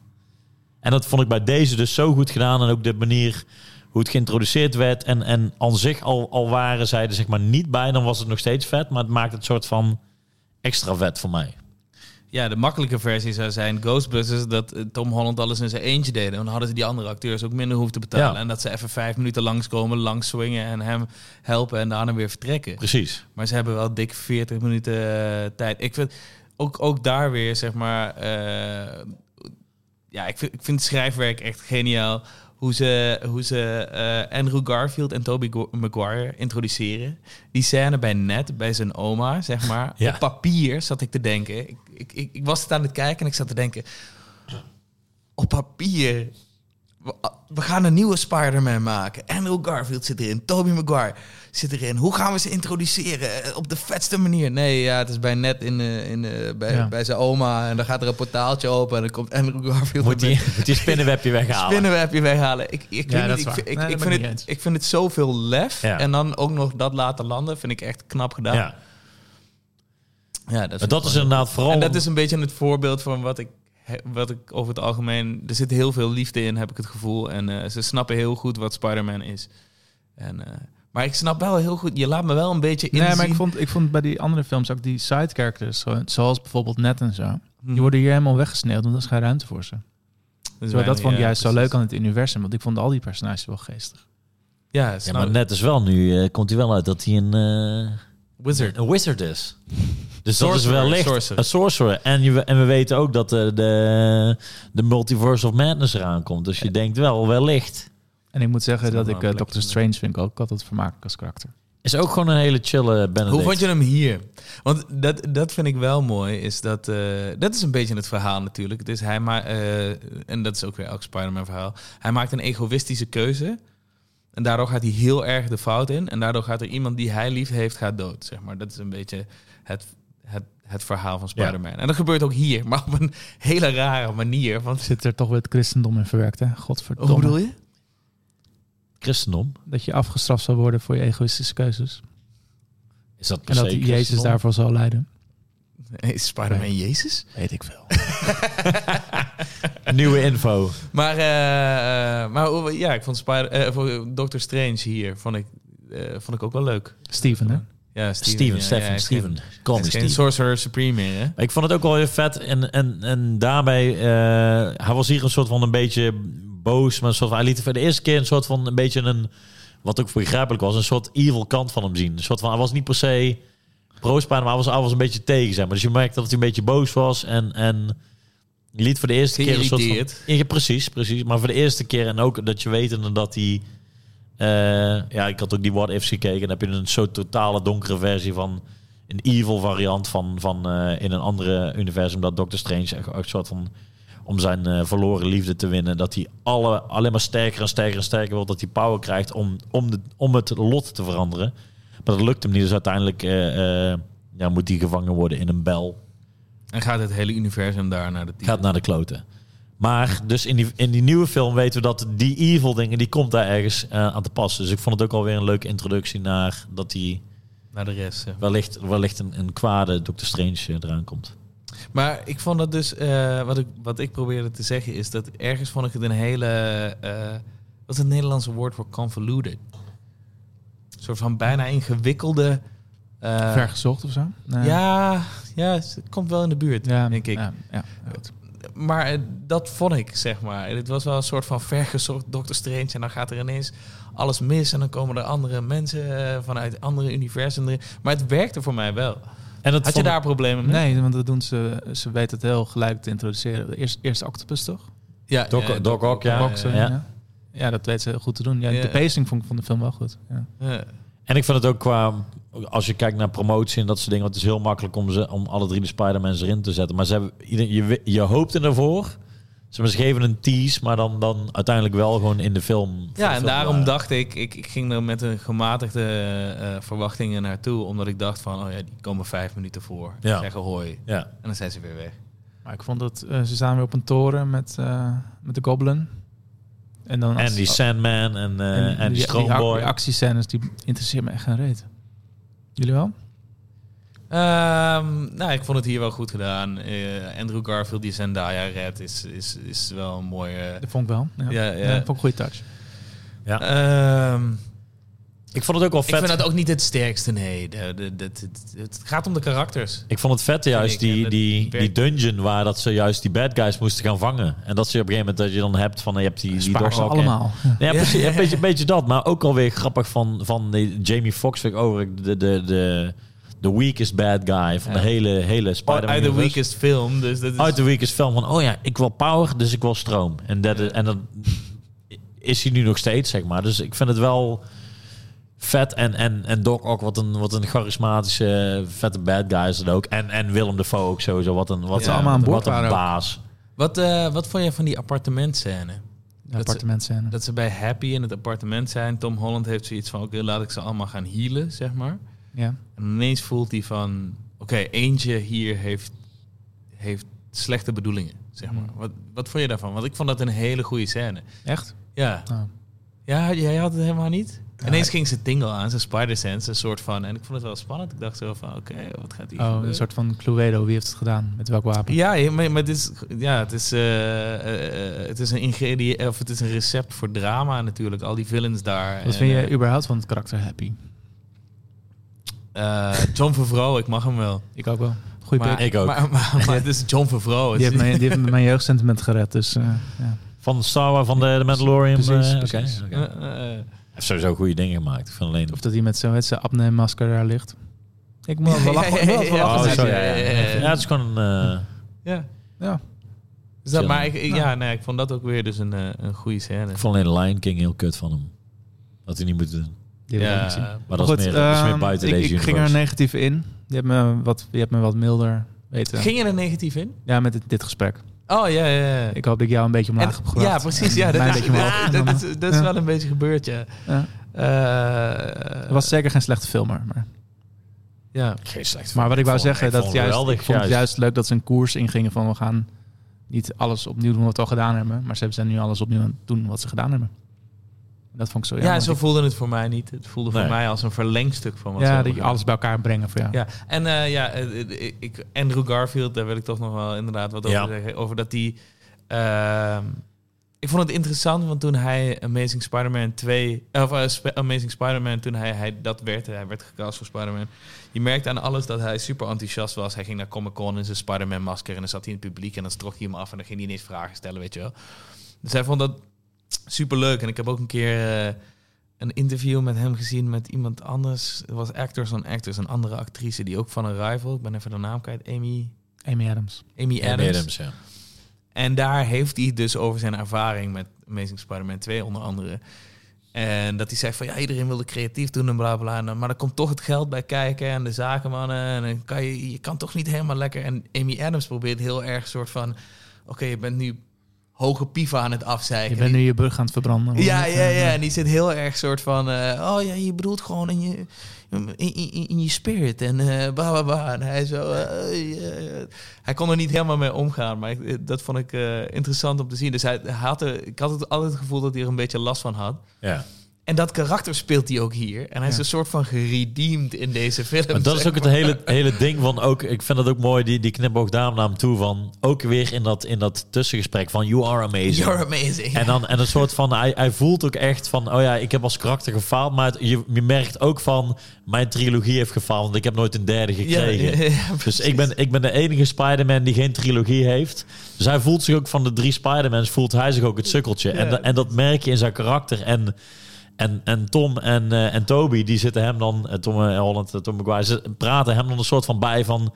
Speaker 1: En dat vond ik bij deze dus zo goed gedaan. En ook de manier hoe het geïntroduceerd werd. En, en aan zich al, al waren zij er zeg maar niet bij. Dan was het nog steeds vet. Maar het maakt het soort van extra vet voor mij.
Speaker 3: Ja, de makkelijke versie zou zijn Ghostbusters dat eh, Tom Holland alles in zijn eentje deden. En dan hadden ze die andere acteurs ook minder hoeven te betalen.
Speaker 1: Ja.
Speaker 3: En dat ze even vijf minuten langskomen, langs swingen en hem helpen en daarna weer vertrekken.
Speaker 1: Precies.
Speaker 3: Maar ze hebben wel dik 40 minuten eh, tijd. Ik vind ook, ook daar weer, zeg maar. eh, ja, ik vind, ik vind het schrijfwerk echt geniaal. Hoe ze, hoe ze eh, Andrew Garfield en Toby Maguire introduceren. Die scène bij Ned, bij zijn oma, zeg maar.
Speaker 1: Ja.
Speaker 3: Op papier zat ik te denken. Ik, ik, ik, ik was het aan het kijken en ik zat te denken. Op papier. We, ah, we gaan een nieuwe Spider-Man maken. Andrew Garfield zit erin. Toby Maguire zit erin. Hoe gaan we ze introduceren? Eh, Op de vetste manier. Nee, ja, het is bij Ned in, eh, in, eh, bij,
Speaker 4: Ja.
Speaker 3: bij zijn oma. En dan gaat er een portaaltje open. En dan komt Andrew Garfield
Speaker 1: Moet die, (laughs)
Speaker 3: met
Speaker 1: moet die spinnenwebje
Speaker 3: een
Speaker 1: weghalen.
Speaker 3: spinnenwebje weghalen. Ik, ik,
Speaker 4: Ja,
Speaker 3: weet niet,
Speaker 4: dat is
Speaker 3: ik,
Speaker 4: waar.
Speaker 3: vind- ik,
Speaker 4: Nee,
Speaker 3: ik
Speaker 4: dat ben
Speaker 3: vind het,
Speaker 4: ik eens.
Speaker 3: ik vind het zoveel lef.
Speaker 1: Ja.
Speaker 3: En dan ook nog dat laten landen. Vind ik echt knap gedaan. Ja.
Speaker 1: Ja.
Speaker 3: dat vind
Speaker 1: Maar
Speaker 3: ik
Speaker 1: Dat is inderdaad vooral...
Speaker 3: en dat is een beetje het voorbeeld van wat ik, he- wat ik over het algemeen. Er zit heel veel liefde in, heb ik het gevoel. En eh, ze snappen heel goed wat Spider-Man is. En, eh, maar ik snap wel heel goed. Je laat me wel een beetje in.
Speaker 4: Nee, maar ik vond, ik vond bij die andere films ook die side characters, zo- zoals bijvoorbeeld Net en zo,
Speaker 3: Mhm.
Speaker 4: die worden hier helemaal weggesneeld, want er is geen ruimte voor ze. Dus dat vond ik juist zo leuk aan het universum, want ik vond al die personages wel geestig.
Speaker 3: Ja,
Speaker 1: Ja,
Speaker 3: snap
Speaker 1: maar
Speaker 3: ik.
Speaker 1: net is wel nu, eh, komt hij wel uit dat hij een, eh,
Speaker 3: Wizard.
Speaker 1: een wizard is. Dus dat is
Speaker 3: Sorcerer,
Speaker 1: wellicht
Speaker 3: sorcerer.
Speaker 1: een sorcerer. En, je, en we weten ook dat eh, de, de Multiverse of Madness eraan komt. Dus je denkt wel, wellicht.
Speaker 4: En ik moet zeggen
Speaker 3: Dat is
Speaker 4: dat ik
Speaker 3: wel
Speaker 4: eh,
Speaker 3: een
Speaker 4: Doctor
Speaker 3: plekje.
Speaker 4: Strange vind ik ook altijd vermakelijk als karakter.
Speaker 1: Is ook gewoon een hele chille Benedict.
Speaker 3: Hoe vond je hem hier? Want dat, dat vind ik wel mooi, is dat... eh, dat is een beetje het verhaal natuurlijk. Het is hij maar... en dat is ook weer elk Spider-Man verhaal. Hij maakt een egoïstische keuze. En daardoor gaat hij heel erg de fout in. En daardoor gaat er iemand die hij lief heeft, gaat dood, zeg maar. Dat is een beetje het, het, het verhaal van Spider-Man. En dat gebeurt ook hier, maar op een hele rare manier. Want,
Speaker 4: Zit er toch weer het christendom in verwerkt, hè? Godverdomme.
Speaker 3: je?
Speaker 1: Christendom?
Speaker 4: Dat je afgestraft zal worden voor je egoïstische keuzes.
Speaker 1: Is dat per
Speaker 4: En dat
Speaker 1: se
Speaker 4: Jezus
Speaker 1: christendom?
Speaker 4: daarvoor zal leiden.
Speaker 3: Is Spider-Man Jezus?
Speaker 4: Weet ik
Speaker 3: (laughs)
Speaker 4: veel.
Speaker 1: Nieuwe info.
Speaker 3: Maar, eh, eh, maar hoe- ja, ik vond Spider, eh, voor Doctor Strange hier vond ik, eh, vond ik ook wel leuk.
Speaker 4: Steven, hè?
Speaker 3: Ja,
Speaker 1: Steven,
Speaker 3: Steven, ja,
Speaker 1: Stefan,
Speaker 3: ja, hij is
Speaker 1: Steven.
Speaker 3: geen-
Speaker 1: Kom,
Speaker 3: hij is
Speaker 1: Steven.
Speaker 3: geen Sorcerer Supreme meer, hè?
Speaker 1: Maar Ik vond het ook wel heel vet. En, en, en daarbij, eh, hij was hier een soort van een beetje boos. Maar een soort van, hij liet voor de eerste keer een soort van een beetje een, wat ook begrijpelijk was, een soort evil kant van hem zien. Een soort van, hij was niet per se pro maar hij was, hij was een beetje tegen, zeg maar. Dus je merkte dat hij een beetje boos was en... en je liet voor de eerste keer een soort van...
Speaker 3: Geïrriteerd.
Speaker 1: Ja, precies, precies. Maar voor de eerste keer en ook dat je weet dat hij... eh, ja, ik had ook die What Ifs gekeken. Dan heb je een soort totale donkere versie van... Een evil variant van, van eh, in een andere universum. Dat Doctor Strange echt echt een soort van... Om zijn eh, verloren liefde te winnen. Dat hij alle, alleen maar sterker en sterker en sterker wordt. Dat hij power krijgt om, om, de, om het lot te veranderen. Maar dat lukt hem niet. Dus uiteindelijk eh, eh, ja, moet hij gevangen worden in een bel
Speaker 3: En gaat het hele universum daar naar de titel.
Speaker 1: gaat naar de kloten. Maar dus in die, in die nieuwe film weten we dat die evil dingen, die komt daar ergens eh, aan te pas. Dus ik vond het ook alweer een leuke introductie naar dat die
Speaker 3: Naar de rest. hè.
Speaker 1: wellicht, wellicht een, een kwade Doctor Strange eh, eraan komt.
Speaker 3: Maar ik vond dat dus, eh, wat, ik, wat ik probeerde te zeggen is dat ergens vond ik het een hele, eh, wat is het Nederlandse woord voor convoluted? Een soort van bijna ingewikkelde... eh,
Speaker 4: Vergezocht of zo? Nee.
Speaker 3: ja, ja, het komt wel in de buurt,
Speaker 4: Ja,
Speaker 3: denk ik.
Speaker 4: Ja, ja, goed.
Speaker 3: maar eh, dat vond ik, zeg maar. Het was wel een soort van vergezocht Doctor Strange. En dan gaat er ineens alles mis. En dan komen er andere mensen eh, vanuit andere universum erin. Maar het werkte voor mij wel.
Speaker 1: En dat
Speaker 3: Had je
Speaker 1: vond-
Speaker 3: daar problemen mee?
Speaker 4: Nee, want dat doen ze. Ze weten het heel gelijk te introduceren. Eerst, eerst Octopus, toch?
Speaker 3: Ja,
Speaker 1: Doc-
Speaker 3: eh,
Speaker 1: Doc Ock, ja.
Speaker 4: Rock, sorry,
Speaker 1: ja.
Speaker 4: ja. Ja, dat weten ze heel goed te doen. Ja,
Speaker 3: Ja.
Speaker 4: De pacing vond ik van de film wel goed. Ja.
Speaker 3: eh,
Speaker 1: En ik vind het ook qua, als je kijkt naar promotie en dat soort dingen, want het is heel makkelijk om, ze, om alle drie de Spider-Mans erin te zetten. Maar ze hebben, ieder- je, wi- je hoopte ervoor. Ze ze geven een tease, maar dan, dan uiteindelijk wel gewoon in de film. voor de
Speaker 3: Ja, en
Speaker 1: film,
Speaker 3: daarom
Speaker 1: eh,
Speaker 3: dacht ik, ik, ik ging er met een gematigde eh, verwachtingen naartoe. Omdat ik dacht van, oh ja, die komen vijf minuten voor.
Speaker 1: Ja.
Speaker 3: Zeggen hoi.
Speaker 1: Ja,
Speaker 3: En dan zijn ze weer weg.
Speaker 4: Maar ik vond dat eh, ze staan weer op een toren met, eh, met de Goblin. En, dan als-
Speaker 1: en die Sandman en, eh, en, die, Stroomboy.
Speaker 4: Oh. Die actiescènes, die interesseert me echt geen reet. Jullie wel?
Speaker 3: Ehm, nou, ik vond het hier wel goed gedaan. Eh, Andrew Garfield die Zendaya redt is, is, is wel een mooie...
Speaker 4: Dat vond ik wel. Ja,
Speaker 3: Ja, ja.
Speaker 4: Ja, dat vond ik een goede touch.
Speaker 1: Ja.
Speaker 3: Ehm,
Speaker 1: Ik vond het ook wel
Speaker 3: Ik
Speaker 1: vet.
Speaker 3: vind dat ook niet het sterkste, nee. De, de, de- het- het- het gaat om de karakters.
Speaker 1: Ik vond het vet juist,
Speaker 3: ik, en
Speaker 1: die,
Speaker 3: dat
Speaker 1: die, die
Speaker 3: werkt.
Speaker 1: dungeon waar dat ze juist die bad guys moesten gaan vangen. En dat ze op een gegeven moment dat je dan hebt van, je hebt die, die
Speaker 4: Spaar ze
Speaker 1: Doc Ock en-
Speaker 4: allemaal.
Speaker 1: Ja, precies. Een beetje, een beetje dat. Maar ook alweer grappig van, van die Jamie Foxx vind ik over de, de, de, de weakest bad guy van de
Speaker 3: Ja.
Speaker 1: hele, hele Spider-Man.
Speaker 3: Uit de
Speaker 1: universe.
Speaker 3: weakest film, dus dat is...
Speaker 1: Uit de weakest film van, oh ja, ik wil power, dus ik wil stroom. En dat, en dat is hij nu nog steeds, zeg maar. Dus ik vind het wel vet. En, en, en Doc ook wat een, wat een charismatische, vette bad guy is dat ook. En, en Willem Dafoe ook sowieso. Wat een, wat
Speaker 3: ze
Speaker 1: een-
Speaker 4: allemaal aan boord
Speaker 1: wat een
Speaker 4: waren ook.
Speaker 1: baas.
Speaker 3: Wat, eh, wat vond jij van die appartementscène?
Speaker 4: De appartementscène.
Speaker 3: Dat ze bij Happy in het appartement zijn. Tom Holland heeft zoiets van, oké, laat ik ze allemaal gaan healen, zeg maar.
Speaker 4: Ja.
Speaker 3: En ineens voelt hij van, oké, eentje hier heeft, heeft slechte bedoelingen, zeg
Speaker 1: Hmm.
Speaker 3: maar. Wat, wat vond je daarvan? Want ik vond dat een hele goede scène.
Speaker 4: Echt?
Speaker 3: Ja.
Speaker 4: Oh.
Speaker 3: Ja, jij had het helemaal niet? Ineens ging ze tingle aan, zijn spider-sense, een soort van... En ik vond het wel spannend. Ik dacht zo van, oké, wat gaat hier
Speaker 4: Oh,
Speaker 3: gebeuren?
Speaker 4: een soort van Cluedo. Wie heeft het gedaan? Met welk wapen?
Speaker 3: Ja, ja, maar, maar het is, ja, het is, eh, eh, eh, het is een ingrediënt, of het is een recept voor drama natuurlijk. Al die villains daar.
Speaker 4: Wat
Speaker 3: En,
Speaker 4: vind je
Speaker 3: eh,
Speaker 4: überhaupt van het karakter Happy?
Speaker 3: eh, John Favreau, ik mag hem wel.
Speaker 4: Ik ook wel. Goeie
Speaker 3: maar,
Speaker 4: pick.
Speaker 1: Ik ook.
Speaker 3: Maar, maar, maar het is John Favreau.
Speaker 4: Die heeft mijn, die heeft mijn jeugdsentiment gered. Dus, eh, ja.
Speaker 1: Van Star Wars, van de, de Mandalorian.
Speaker 4: Precies,
Speaker 1: eh, oké,
Speaker 4: precies.
Speaker 1: oké.
Speaker 3: Eh, eh, eh.
Speaker 1: Hij heeft sowieso goede dingen gemaakt. Ik vind alleen...
Speaker 4: Of dat hij met zo'n met zijn apneu-masker daar ligt. Ik moet wel
Speaker 3: (laughs)
Speaker 4: lachen.
Speaker 3: Ja,
Speaker 4: ik moet wel
Speaker 3: ja,
Speaker 4: lachen.
Speaker 1: Oh,
Speaker 3: precies,
Speaker 1: zo,
Speaker 3: ja,
Speaker 1: ja, ja.
Speaker 3: ja, ja, ja.
Speaker 1: ja, het is gewoon een... eh,
Speaker 3: ja.
Speaker 4: Ja.
Speaker 3: Dus dat,
Speaker 1: Chill.
Speaker 3: maar ik, ik- ja, nee, ik vond dat ook weer dus een, eh, een goede scène.
Speaker 1: Ik vond alleen Lion King heel kut van hem. Dat hij niet moet doen.
Speaker 4: Die wil ik ook niet zien.
Speaker 1: Maar dat, is, meer, dat is meer
Speaker 4: ehm,
Speaker 1: buiten
Speaker 4: ik,
Speaker 1: deze
Speaker 4: ik ging er
Speaker 1: universe.
Speaker 4: negatief in. Je hebt me wat, je hebt me wat milder weten.
Speaker 3: Ging je er negatief in?
Speaker 4: Ja, met dit, dit gesprek.
Speaker 3: Oh, ja, ja, ja.
Speaker 4: Ik hoop dat ik jou een beetje omlaag
Speaker 3: En-
Speaker 4: heb gebracht.
Speaker 3: Ja, precies. Ja, dat,
Speaker 4: Mij een
Speaker 3: is,
Speaker 4: beetje omhoog
Speaker 3: (laughs) ja, dat,
Speaker 4: genomen.
Speaker 3: is, dat is
Speaker 4: Ja.
Speaker 3: wel een beetje gebeurd, ja.
Speaker 4: Ja.
Speaker 3: Eh,
Speaker 4: Het was zeker geen slechte filmer. Maar,
Speaker 3: ja.
Speaker 1: Geen slecht
Speaker 4: maar wat ik wou
Speaker 1: vond-
Speaker 4: zeggen,
Speaker 1: ik
Speaker 4: dat
Speaker 1: vond
Speaker 4: juist,
Speaker 1: geweldig,
Speaker 4: ik vond het
Speaker 1: juist.
Speaker 4: juist leuk dat ze een koers ingingen van we gaan niet alles opnieuw doen wat we al gedaan hebben. Maar ze zijn nu alles opnieuw aan het doen wat ze gedaan hebben. Dat vond ik zo jammer.
Speaker 3: Ja, zo
Speaker 4: Dat
Speaker 3: voelde het voor mij niet. Het voelde
Speaker 1: Nee.
Speaker 3: voor mij als een verlengstuk van
Speaker 4: ik-
Speaker 3: wat ze
Speaker 4: ja,
Speaker 3: hebben
Speaker 4: dat je
Speaker 3: gedaan.
Speaker 4: alles bij elkaar brengen voor jou.
Speaker 3: Ja, en eh, ja, eh, eh, ik, Andrew Garfield, daar wil ik toch nog wel inderdaad wat over
Speaker 1: Ja.
Speaker 3: zeggen. Over dat die... ehm, ik vond het interessant, want toen hij Amazing Spider-Man 2... Of eh, Sp- Amazing Spider-Man, toen hij, hij dat werd, hij werd gecast voor Spider-Man. Je merkte aan alles dat hij super enthousiast was. Hij ging naar Comic-Con in zijn Spider-Man-masker en dan zat hij in het publiek en dan strok hij hem af en dan ging hij ineens vragen stellen, weet je wel. Dus hij vond dat super leuk. En ik heb ook een keer eh, een interview met hem gezien met iemand anders. Het was Actors on Actors, een andere actrice die ook van een rival. Ik ben even de naam kwijt. Amy,
Speaker 4: Amy Adams.
Speaker 3: Amy
Speaker 1: Ja,
Speaker 3: Adams.
Speaker 1: Adams, ja.
Speaker 3: En daar heeft hij het dus over zijn ervaring met Amazing Spider-Man 2 onder andere. En dat hij zei van ja, iedereen wilde creatief doen en bla bla. En dan- Maar er komt toch het geld bij kijken en de zakenmannen. En dan kan je, je kan toch niet helemaal lekker. En Amy Adams probeert heel erg soort van: oké, je bent nu hoge pieven aan het afzeiken.
Speaker 4: Je bent nu je brug aan het verbranden. Hoe
Speaker 3: Ja,
Speaker 4: heet
Speaker 3: ja,
Speaker 1: eh,
Speaker 4: dat?
Speaker 3: ja. En die zit heel erg soort van... eh, oh ja, je bedoelt gewoon in je, in, in, in je spirit en eh bla bla bla. En hij zo... eh, eh, eh. hij kon er niet helemaal mee omgaan. Maar ik- eh, dat vond ik eh, interessant om te zien. Dus hij, hij had er, ik had het altijd het gevoel dat hij er een beetje last van had.
Speaker 1: ja.
Speaker 3: En dat karakter speelt hij ook hier. En hij is een soort van geredeemd in deze film.
Speaker 1: Maar dat is
Speaker 3: zeg
Speaker 1: ook het
Speaker 3: maar.
Speaker 1: hele, hele ding van ook. Ik vind dat ook mooi, die, die knipoog daar naar hem toe. Van ook weer in dat, in dat tussengesprek van You are amazing.
Speaker 3: You're amazing.
Speaker 1: en dan en een soort van, hij, hij voelt ook echt van, oh ja, ik heb als karakter gefaald. Maar het- je, je merkt ook van, mijn trilogie heeft gefaald, want ik heb nooit een derde gekregen. Dus ik ben, ik ben de enige Spider-Man die geen trilogie heeft. Dus hij voelt zich ook van de drie Spider-Mans, voelt hij zich ook het sukkeltje. En, da- en dat merk je in zijn karakter. En, en, en Tom en, eh, en Toby, die zitten hem dan, eh, Tom eh, Holland, eh, Tom McGuire, ze praten hem dan een soort van bij van...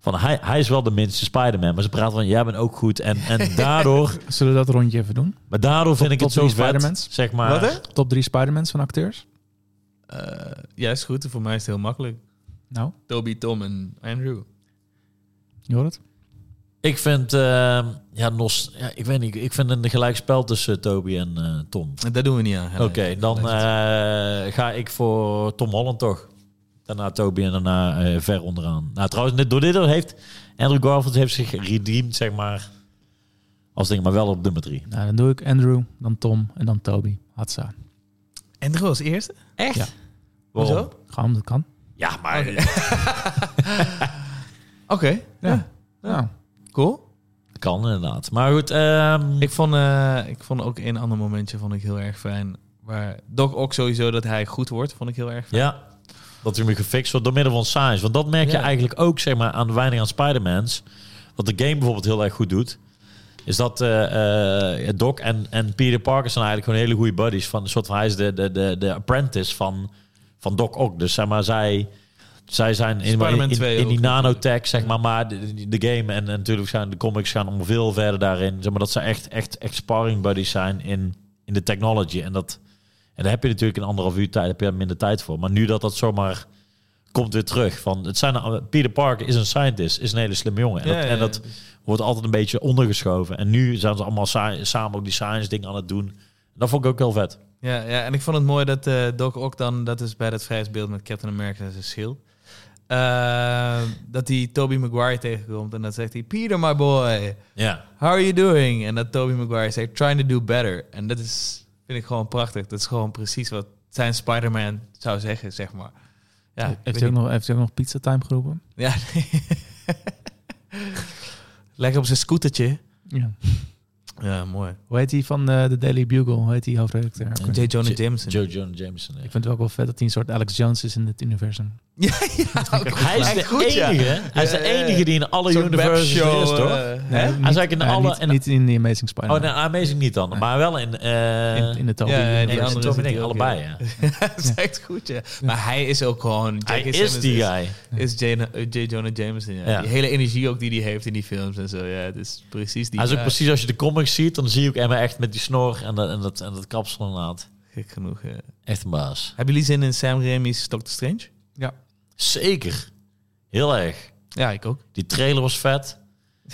Speaker 1: Van hij, hij is wel de minste Spider-Man, maar ze praten van jij bent ook goed. En,
Speaker 4: (laughs)
Speaker 1: en daardoor,
Speaker 4: Zullen we dat rondje even doen?
Speaker 1: maar daardoor vind ik
Speaker 4: top
Speaker 1: het zo
Speaker 4: drie
Speaker 1: vet,
Speaker 4: Spider-Mans?
Speaker 1: zeg
Speaker 3: Wat hè?
Speaker 1: maar.
Speaker 4: Top drie Spider-Mans van acteurs?
Speaker 3: Eh, ja, is goed. Voor mij is het heel makkelijk.
Speaker 4: Nou,
Speaker 3: Toby, Tom en Andrew.
Speaker 4: je hoort het.
Speaker 1: Ik vind, eh, ja, Nos, ja, ik weet niet, ik vind een gelijk spel tussen Toby en eh, Tom.
Speaker 3: Dat doen we niet aan.
Speaker 1: Oké, dan eh, ga ik voor Tom Holland toch. Daarna Toby en daarna eh, ver onderaan. Nou, trouwens, dit- door dit heeft Andrew Garfield heeft zich redeemed, zeg maar. Als ding, maar wel op nummer drie.
Speaker 4: Nou, dan doe ik Andrew, dan Tom en dan Toby. Hatsa.
Speaker 3: Andrew als eerste? Echt?
Speaker 4: Ja.
Speaker 1: Waarom?
Speaker 3: Hoezo?
Speaker 4: Gewoon dat kan.
Speaker 1: Ja, maar
Speaker 3: (laughs) Oké,
Speaker 4: Ja. Nou,
Speaker 3: cool.
Speaker 1: kan inderdaad. Maar goed, ehm,
Speaker 3: Ik vond, eh, ik vond ook een ander momentje vond ik heel erg fijn. Waar Doc ook sowieso dat hij goed wordt, vond ik heel erg.
Speaker 1: Ja, dat hij me gefixt wordt door middel van science. Want dat merk je
Speaker 3: Ja.
Speaker 1: eigenlijk ook zeg maar, aan de weinig aan Spider-Mans. Wat de game bijvoorbeeld heel erg goed doet. Is dat eh, eh, Doc en, en Peter Parker zijn eigenlijk gewoon hele goede buddies. Van, een soort van, hij is de, de, de, de apprentice van, van Doc ook. Dus zeg maar, zij, zij zijn in, in,
Speaker 3: Spider-Man
Speaker 1: in,
Speaker 3: 2
Speaker 1: die
Speaker 3: ook.
Speaker 1: nanotech, zeg maar. Maar de, de game en, en natuurlijk gaan de comics gaan om veel verder daarin. Zeg maar, dat ze echt, echt, echt sparring buddies zijn in, in de technology. En dat, en daar heb je natuurlijk een anderhalf uur tijd, heb je daar minder tijd voor. Maar nu dat dat zomaar komt weer terug. Van, het zijn, Peter Parker is een scientist, is een hele slim jongen. En,
Speaker 3: Ja,
Speaker 1: dat,
Speaker 3: ja,
Speaker 1: en dat
Speaker 3: ja.
Speaker 1: wordt altijd een beetje ondergeschoven. En nu zijn ze allemaal sa- samen ook die science dingen aan het doen. Dat vond ik ook heel vet.
Speaker 3: Ja, ja, en ik vond het mooi dat eh, Doc Ock dan, dat is bij dat vrijheidsbeeld met Captain America en zijn schild, eh, dat hij Toby Maguire tegenkomt en dan zegt hij, Peter, my boy,
Speaker 1: Ja,
Speaker 3: how are you doing? En dat Toby Maguire zegt, trying to do better. En dat is, vind ik gewoon prachtig. Dat is gewoon precies wat zijn Spider-Man zou zeggen, zeg maar. Ja, ik
Speaker 4: heeft,
Speaker 3: weet
Speaker 4: hij ook
Speaker 3: niet.
Speaker 4: nog, heeft hij ook nog pizza time geroepen?
Speaker 3: Ja.
Speaker 1: (laughs)
Speaker 3: Lekker op zijn scootertje.
Speaker 4: Ja.
Speaker 3: Ja, mooi.
Speaker 4: Hoe heet hij van eh, de Daily Bugle? Hoe heet die hoofdredacteur?
Speaker 1: Ja.
Speaker 4: Ik
Speaker 3: J. Jonah
Speaker 1: J-
Speaker 3: Jameson. (laughs)
Speaker 1: Joe John Jameson. ja.
Speaker 4: vind het ook wel vet dat hij een soort Alex Jones is in dit universum.
Speaker 3: ja, ja, ook
Speaker 1: Hij is
Speaker 3: echt
Speaker 1: de
Speaker 3: goed, ja.
Speaker 1: enige. Hij is de
Speaker 3: Ja, ja, ja.
Speaker 1: enige die in alle
Speaker 3: Zo'n
Speaker 1: universes
Speaker 3: webshow,
Speaker 1: is, toch?
Speaker 3: eh,
Speaker 4: Nee,
Speaker 3: hè?
Speaker 4: niet-
Speaker 1: Hij is eigenlijk in
Speaker 4: eh,
Speaker 1: alle-
Speaker 4: niet,
Speaker 1: in-
Speaker 4: niet in The Amazing Spider-Man.
Speaker 1: oh, nee, Amazing niet dan. Maar wel in... eh
Speaker 4: in, in de Toby
Speaker 3: ja, ja,
Speaker 1: die
Speaker 4: universe.
Speaker 1: andere
Speaker 3: die andere is het
Speaker 1: dingen,
Speaker 3: ook,
Speaker 1: allebei.
Speaker 3: ja.
Speaker 1: Ja.
Speaker 3: (laughs) dat is echt goed, ja. Maar hij is ook gewoon... J.K.
Speaker 1: Hij is
Speaker 3: Simmons
Speaker 1: die guy.
Speaker 3: Is J. eh, J. Jonah Jameson, ja.
Speaker 1: Ja.
Speaker 3: Die hele energie ook die hij heeft in die films en zo. Ja, het is precies die
Speaker 1: Hij
Speaker 3: eh,
Speaker 1: is ook
Speaker 3: guy.
Speaker 1: precies als je de comics ziet, dan zie ik hem echt met die snor en dat, en dat, en dat kapsel inderdaad.
Speaker 3: Gek genoeg, ja.
Speaker 1: Echt een baas.
Speaker 3: Hebben jullie zin in Sam Raimi's Doctor Strange?
Speaker 1: Zeker. Heel erg.
Speaker 3: Ja, ik ook.
Speaker 1: Die trailer was vet.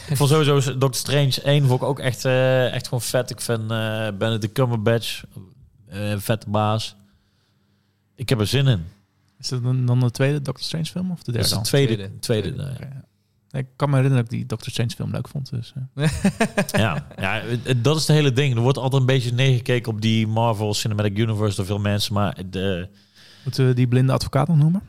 Speaker 1: Ik vond sowieso Doctor Strange 1 vond ik ook echt, eh, echt gewoon vet. Ik vind eh Benedict Cumberbatch eh vette baas. Ik heb er zin in.
Speaker 4: Is dat dan, dan de tweede Doctor Strange film of
Speaker 1: Dat
Speaker 4: de derde
Speaker 1: is de
Speaker 4: al?
Speaker 1: tweede.
Speaker 3: tweede.
Speaker 1: tweede,
Speaker 4: Oké, ja. Nee, Ik kan me herinneren dat ik die Doctor Strange film leuk vond. Dus, eh.
Speaker 1: ja. ja, het- het- dat is de hele ding. Er wordt altijd een beetje neergekeken op die Marvel Cinematic Universe door veel mensen. Maar de,
Speaker 4: Moeten we die blinde advocaat nog noemen?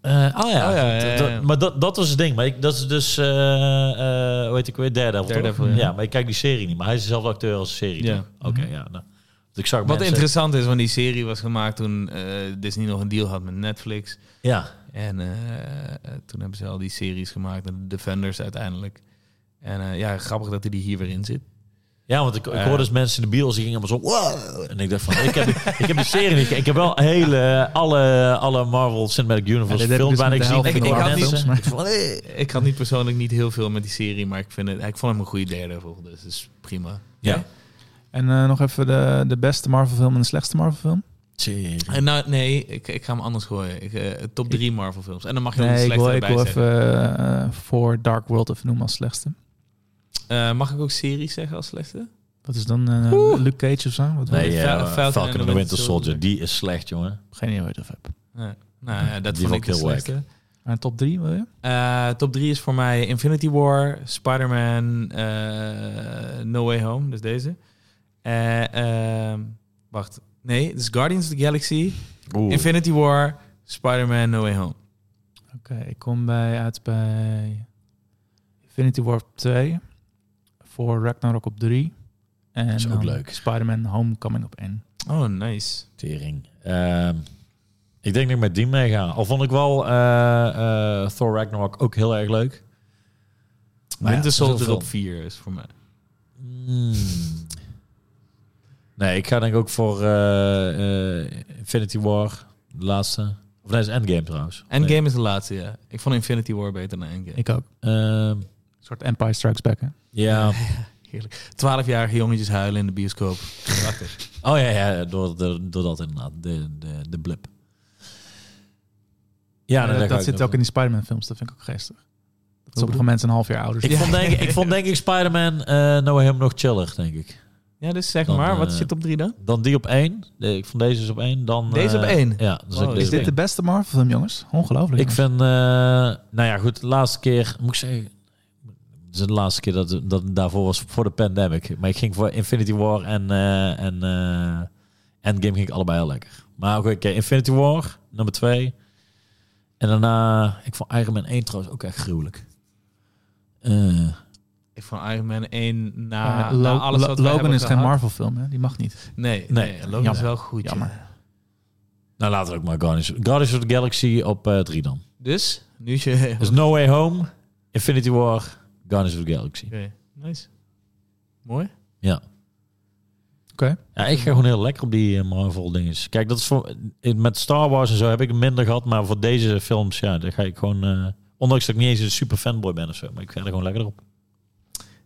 Speaker 1: Eh, oh ja,
Speaker 3: Oh ja, ja, ja.
Speaker 1: Dat- dat- maar dat, dat was het ding. Maar ik, dat is dus, eh eh, hoe heet ik weer, Daredevil,
Speaker 3: Daredevil,
Speaker 1: toch?
Speaker 3: ja.
Speaker 1: Ja. maar ik kijk die serie niet. Maar hij is dezelfde acteur als de serie.
Speaker 3: Ja. Mhm.
Speaker 1: toch? Oké, ja. Nou, Want ik zag
Speaker 3: Wat
Speaker 1: mensen-
Speaker 3: interessant is, want die serie was gemaakt toen eh, Disney nog een deal had met Netflix.
Speaker 1: Ja,
Speaker 3: En eh, eh, toen hebben ze al die series gemaakt, de Defenders uiteindelijk. En eh, ja, grappig dat hij die hier weer in zit.
Speaker 1: ja want ik, ik
Speaker 3: Ja.
Speaker 1: hoorde dus mensen in de bios, die gingen allemaal zo... Wow! En ik dacht van, ik heb, ik heb die (laughs) serie niet... ge- Ik heb wel hele, alle, alle Marvel Cinematic
Speaker 4: Ja,
Speaker 1: Universe
Speaker 4: dit heb ik
Speaker 1: films
Speaker 4: dus
Speaker 1: bijna
Speaker 4: met de
Speaker 1: gezien.
Speaker 4: helft
Speaker 3: van de
Speaker 1: had
Speaker 3: Marvel
Speaker 1: mensen-
Speaker 4: films,
Speaker 1: ik vond, eh,
Speaker 3: Ik had niet persoonlijk niet heel veel met die serie, maar ik, vind het, ik vond hem een goede Daredevil, dus dat is prima.
Speaker 1: Ja.
Speaker 4: En eh, nog even de, de beste Marvel film en de slechtste Marvel film?
Speaker 1: Serie.
Speaker 3: En nou, nee, ik, ik ga hem anders gooien. Ik, eh, top 3 Marvel films. En dan mag je ook de
Speaker 4: Nee, ik
Speaker 3: slechte
Speaker 4: wil, ik
Speaker 3: erbij
Speaker 4: wil
Speaker 3: zeggen.
Speaker 4: even eh, voor Dark World even noemen als slechtste.
Speaker 3: Eh, mag ik ook series zeggen als slechte?
Speaker 4: Wat is dan eh, Luke Cage of zo? Wat
Speaker 1: Nee,
Speaker 3: Fa-
Speaker 1: ja,
Speaker 3: Falcon
Speaker 1: Falcon
Speaker 3: and
Speaker 1: and the Winter Soldier. Die is slecht, jongen.
Speaker 4: Geen idee waar je het over hebt.
Speaker 3: Ja. Nou ja, dat
Speaker 1: Die vond
Speaker 3: vond ik
Speaker 1: ik
Speaker 3: de
Speaker 1: heel wack.
Speaker 3: slechte.
Speaker 4: Maar een top 3 wil je?
Speaker 3: Eh, top 3 is voor mij Infinity War, Spider-Man, eh, No Way Home, dus deze. Eh, ehm, wacht, nee, dus Guardians of the Galaxy, Infinity War, Spider-Man, No Way Home.
Speaker 4: Oké, ik kom bij, uit bij Infinity War op 2. Voor Ragnarok op 3. En
Speaker 1: Is ook
Speaker 4: dan
Speaker 1: leuk.
Speaker 4: Spider-Man Homecoming op 1.
Speaker 3: Oh, nice.
Speaker 1: Tering. Ehm, ik denk dat ik met die mee ga. Al vond ik wel eh, eh, Thor Ragnarok ook heel erg leuk. Maar ja,
Speaker 3: Winter Soldier
Speaker 1: zoveel.
Speaker 3: op 4 is voor mij.
Speaker 1: Hmm. Nee, ik ga denk ik ook voor eh, eh, Infinity War, de laatste. Of nee, dat is Endgame trouwens.
Speaker 3: Endgame is de laatste, ja. Ik vond Infinity War beter dan Endgame.
Speaker 4: Ik ook.
Speaker 1: Nee. Ehm,
Speaker 4: Een soort Empire Strikes Back, hè?
Speaker 1: ja.
Speaker 3: Heerlijk. 12-jarige jongetjes huilen in de bioscoop. Prachtig.
Speaker 1: Oh ja, ja door, door, door dat inderdaad. De, de, de blip. Ja, nee,
Speaker 4: Maar
Speaker 1: daar
Speaker 4: Eh, dat
Speaker 1: ga
Speaker 4: dat
Speaker 1: ik
Speaker 4: zit ook in die Spider-Man films. Dat vind ik ook geestig. Dat sommige mensen een half jaar ouder
Speaker 1: Ik,
Speaker 4: zijn.
Speaker 1: vond denk, ik vond denk ik Spider-Man eh No Way Home nog chiller, denk ik.
Speaker 3: Ja, dus zeg
Speaker 1: Dan,
Speaker 3: maar, wat
Speaker 1: eh,
Speaker 3: zit op 3 dan?
Speaker 1: Dan die op één. De- ik vond deze is op één. Dan,
Speaker 3: Deze op
Speaker 1: eh,
Speaker 3: één? Oh,
Speaker 1: Ja, dan zet
Speaker 3: Wow,
Speaker 1: ik
Speaker 4: Is
Speaker 1: deze
Speaker 4: dit
Speaker 1: op
Speaker 4: de
Speaker 1: één.
Speaker 4: beste Marvel film, jongens? Ongelooflijk.
Speaker 1: Ik vind, eh, nou ja, goed, de laatste keer, moet ik zeggen, het is de laatste keer dat, dat het daarvoor was voor de pandemic. Maar ik ging voor Infinity War en, eh, en eh, Endgame ging ik allebei heel lekker. Maar oké, oké, Infinity War, nummer twee. En daarna, ik vond Iron Man 1 trouwens ook echt gruwelijk. Eh,
Speaker 3: Ik vond Iron Man 1 na,
Speaker 4: Maar
Speaker 3: na
Speaker 4: Eh, Lo-
Speaker 3: Ah, nou, alles
Speaker 4: Lo-
Speaker 3: wat we
Speaker 4: Logan
Speaker 3: hebben
Speaker 4: is geen
Speaker 3: gehad-
Speaker 4: Marvel film, hè? Die mag niet.
Speaker 3: Nee,
Speaker 1: Nee,
Speaker 3: nee, Logan is
Speaker 4: jammer.
Speaker 3: wel goed. ja.
Speaker 4: Jammer.
Speaker 1: Nou, laten we ook maar Guardians, Guardians of the Galaxy op eh 3 dan.
Speaker 3: Dus, nu is je...
Speaker 1: Dus No Way Home, Infinity War, Guardians of the Galaxy.
Speaker 3: Oké, nice. Mooi.
Speaker 1: Ja.
Speaker 4: Oké.
Speaker 1: Ja, ik ga gewoon heel lekker op die eh, Marvel dinges. Kijk, dat is voor eh, met Star Wars en zo heb ik het minder gehad, maar voor deze films, ja, daar ga ik gewoon. eh, ondanks dat ik niet eens een super fanboy ben of zo, maar ik ga er gewoon lekker op.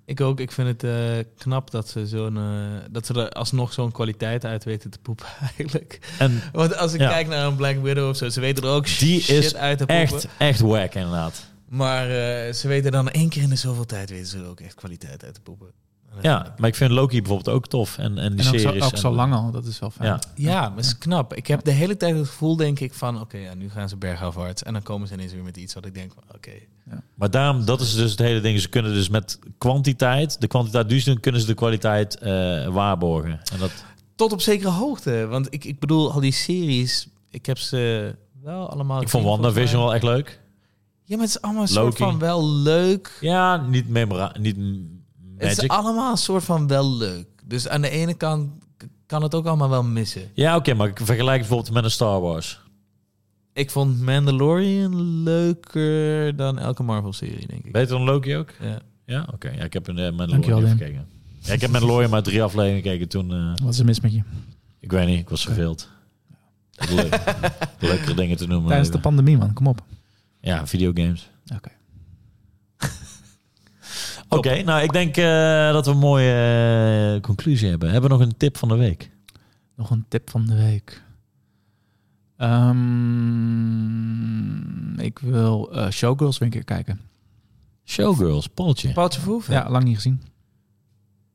Speaker 3: Ik ook. Ik vind het eh, knap dat ze, zo'n, eh, dat ze er alsnog zo'n kwaliteit uit weten te poepen (laughs) eigenlijk.
Speaker 1: En
Speaker 3: Want als ik
Speaker 1: Ja.
Speaker 3: kijk naar een Black Widow of zo, ze weten er ook
Speaker 1: Die
Speaker 3: shit
Speaker 1: is
Speaker 3: uit te poepen.
Speaker 1: echt, echt wack inderdaad.
Speaker 3: Maar eh, ze weten dan één keer in de zoveel tijd weten ze er ook echt kwaliteit uit te poepen.
Speaker 1: Ja, maar ik vind Loki bijvoorbeeld ook tof en, en die
Speaker 4: En ook zo,
Speaker 1: series.
Speaker 4: ook zo
Speaker 1: en-
Speaker 4: lang al, dat is wel fijn.
Speaker 1: Ja.
Speaker 3: Ja, maar het is knap. Ik heb de hele tijd het gevoel, denk ik, van oké, ja, nu gaan ze bergafwaarts. En dan komen ze ineens weer met iets wat ik denk van oké.
Speaker 1: Maar daarom, dat is dus het hele ding. Ze kunnen dus met kwantiteit, de kwantiteit die ze doen, kunnen ze de kwaliteit eh, waarborgen. En dat,
Speaker 3: Tot op zekere hoogte. Want ik, ik bedoel, al die series, ik heb ze wel allemaal...
Speaker 1: ik vond
Speaker 3: gezien, volgens mij.
Speaker 1: WandaVision wel echt leuk.
Speaker 3: Ja, maar het is allemaal een soort
Speaker 1: Loki.
Speaker 3: van wel leuk.
Speaker 1: Ja, niet memora, niet
Speaker 3: Het is
Speaker 1: magic.
Speaker 3: allemaal een soort van wel leuk. Dus aan de ene kant k- kan het ook allemaal wel missen.
Speaker 1: Ja, oké, maar ik vergelijk het bijvoorbeeld met een Star Wars.
Speaker 3: Ik vond Mandalorian leuker dan elke Marvel-serie, denk ik.
Speaker 1: Beter dan Loki ook?
Speaker 3: Ja.
Speaker 1: Ja, oké. Ja, ik heb een uh,
Speaker 4: Dankjewel,
Speaker 1: Mandalorian even gekeken. Ja, ik heb Mandalorian maar drie afleveringen gekeken toen... eh,
Speaker 4: Wat is er mis met je?
Speaker 1: ik weet niet, ik was verveeld. Ik had Leuk,
Speaker 4: (laughs)
Speaker 1: leukere dingen te noemen. eh,
Speaker 4: Tijdens de pandemie, man. Kom op.
Speaker 1: ja, videogames.
Speaker 4: Oké.
Speaker 1: (laughs) Oké, nou ik denk eh, dat we een mooie eh, conclusie hebben. Hebben we nog een tip van de week?
Speaker 4: Nog een tip van de week. Ehm, ik wil eh, Showgirls weer een keer kijken.
Speaker 1: Showgirls, Paultje.
Speaker 3: Paultje Verhoeven?
Speaker 4: Ja, lang niet gezien.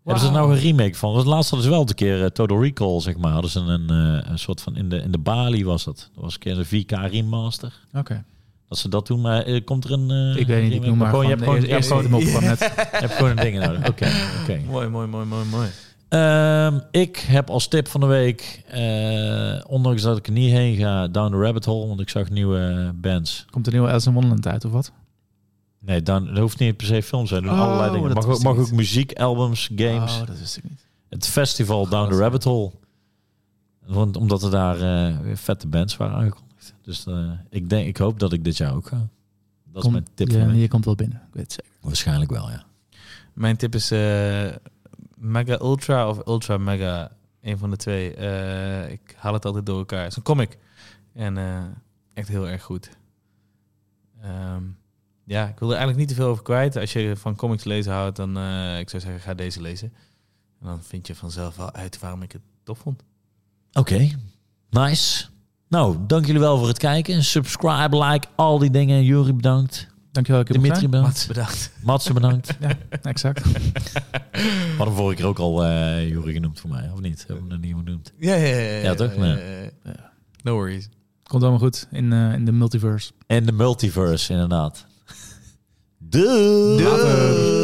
Speaker 1: Hebben ze er nou een remake van? Want laatst hadden ze wel een keer eh, Total Recall, zeg maar. Hadden ze een, eh, een soort van... In de, in de Bali was dat. Dat was een keer een 4K remaster.
Speaker 4: Oké.
Speaker 1: Dat ze dat doen, maar eh, komt er een... eh,
Speaker 4: ik weet niet, ik
Speaker 1: remake?
Speaker 4: noem maar
Speaker 1: Gewoon, je hebt
Speaker 4: gewoon de
Speaker 1: gewoon, je
Speaker 4: eerste
Speaker 1: hebt
Speaker 4: eerste
Speaker 1: gewoon,
Speaker 4: die me opkwam net.
Speaker 1: (laughs) je hebt gewoon een ding nodig. Oké,
Speaker 4: (laughs)
Speaker 1: oké.
Speaker 3: Mooi, mooi, mooi, mooi, mooi.
Speaker 1: Ehm, ik heb als tip van de week, eh, ondanks dat ik er niet heen ga, Down the Rabbit Hole, want ik zag nieuwe bands.
Speaker 4: Komt een nieuwe Alice in Wonderland uit of wat?
Speaker 1: Nee, dan, dat hoeft niet per se films zijn.
Speaker 4: Oh,
Speaker 1: allerlei dingen.
Speaker 4: dat
Speaker 1: Mag, ook-
Speaker 4: wist ik
Speaker 1: mag ook
Speaker 4: niet.
Speaker 1: muziek, albums, games.
Speaker 4: Oh, dat wist ik niet.
Speaker 1: Het festival Down the Rabbit Hole. Want, omdat er daar eh, weer vette bands waren aangekondigd. Dus eh, ik, denk, ik hoop dat ik dit jaar ook ga. Dat is
Speaker 4: Kom-
Speaker 1: mijn tip
Speaker 4: ja,
Speaker 1: van de week.
Speaker 4: je komt wel binnen. Ik weet het zeker.
Speaker 1: Waarschijnlijk wel, ja.
Speaker 3: Mijn tip is eh, Mega Ultra of Ultra Mega. Een van de twee. Eh, ik haal het altijd door elkaar. Het is een comic. En eh, echt heel erg goed. Ehm, ja, ik wil er eigenlijk niet te veel over kwijt. Als je van comics lezen houdt, dan eh, ik zou zeggen, ga deze lezen. En dan vind je vanzelf wel uit waarom ik het tof vond.
Speaker 1: Oké, nice. Nou, dank jullie wel voor het kijken. Subscribe, like, al die dingen. Jury bedankt.
Speaker 4: Dankjewel, ik heb
Speaker 1: Dimitri bedankt.
Speaker 3: Mats, bedankt.
Speaker 1: Matsen
Speaker 4: (laughs)
Speaker 1: bedankt.
Speaker 4: Exact.
Speaker 1: We hadden vorige keer ook al eh Jury genoemd voor mij, of niet? Hebben we dat niet genoemd?
Speaker 3: (laughs) Ja, ja, ja. Ja,
Speaker 1: Ja, toch?
Speaker 3: ja,
Speaker 1: Ja.
Speaker 3: ja, ja. No worries.
Speaker 4: Komt allemaal goed in, eh, in de multiverse.
Speaker 1: En de multiverse, inderdaad. Doei!
Speaker 4: Later.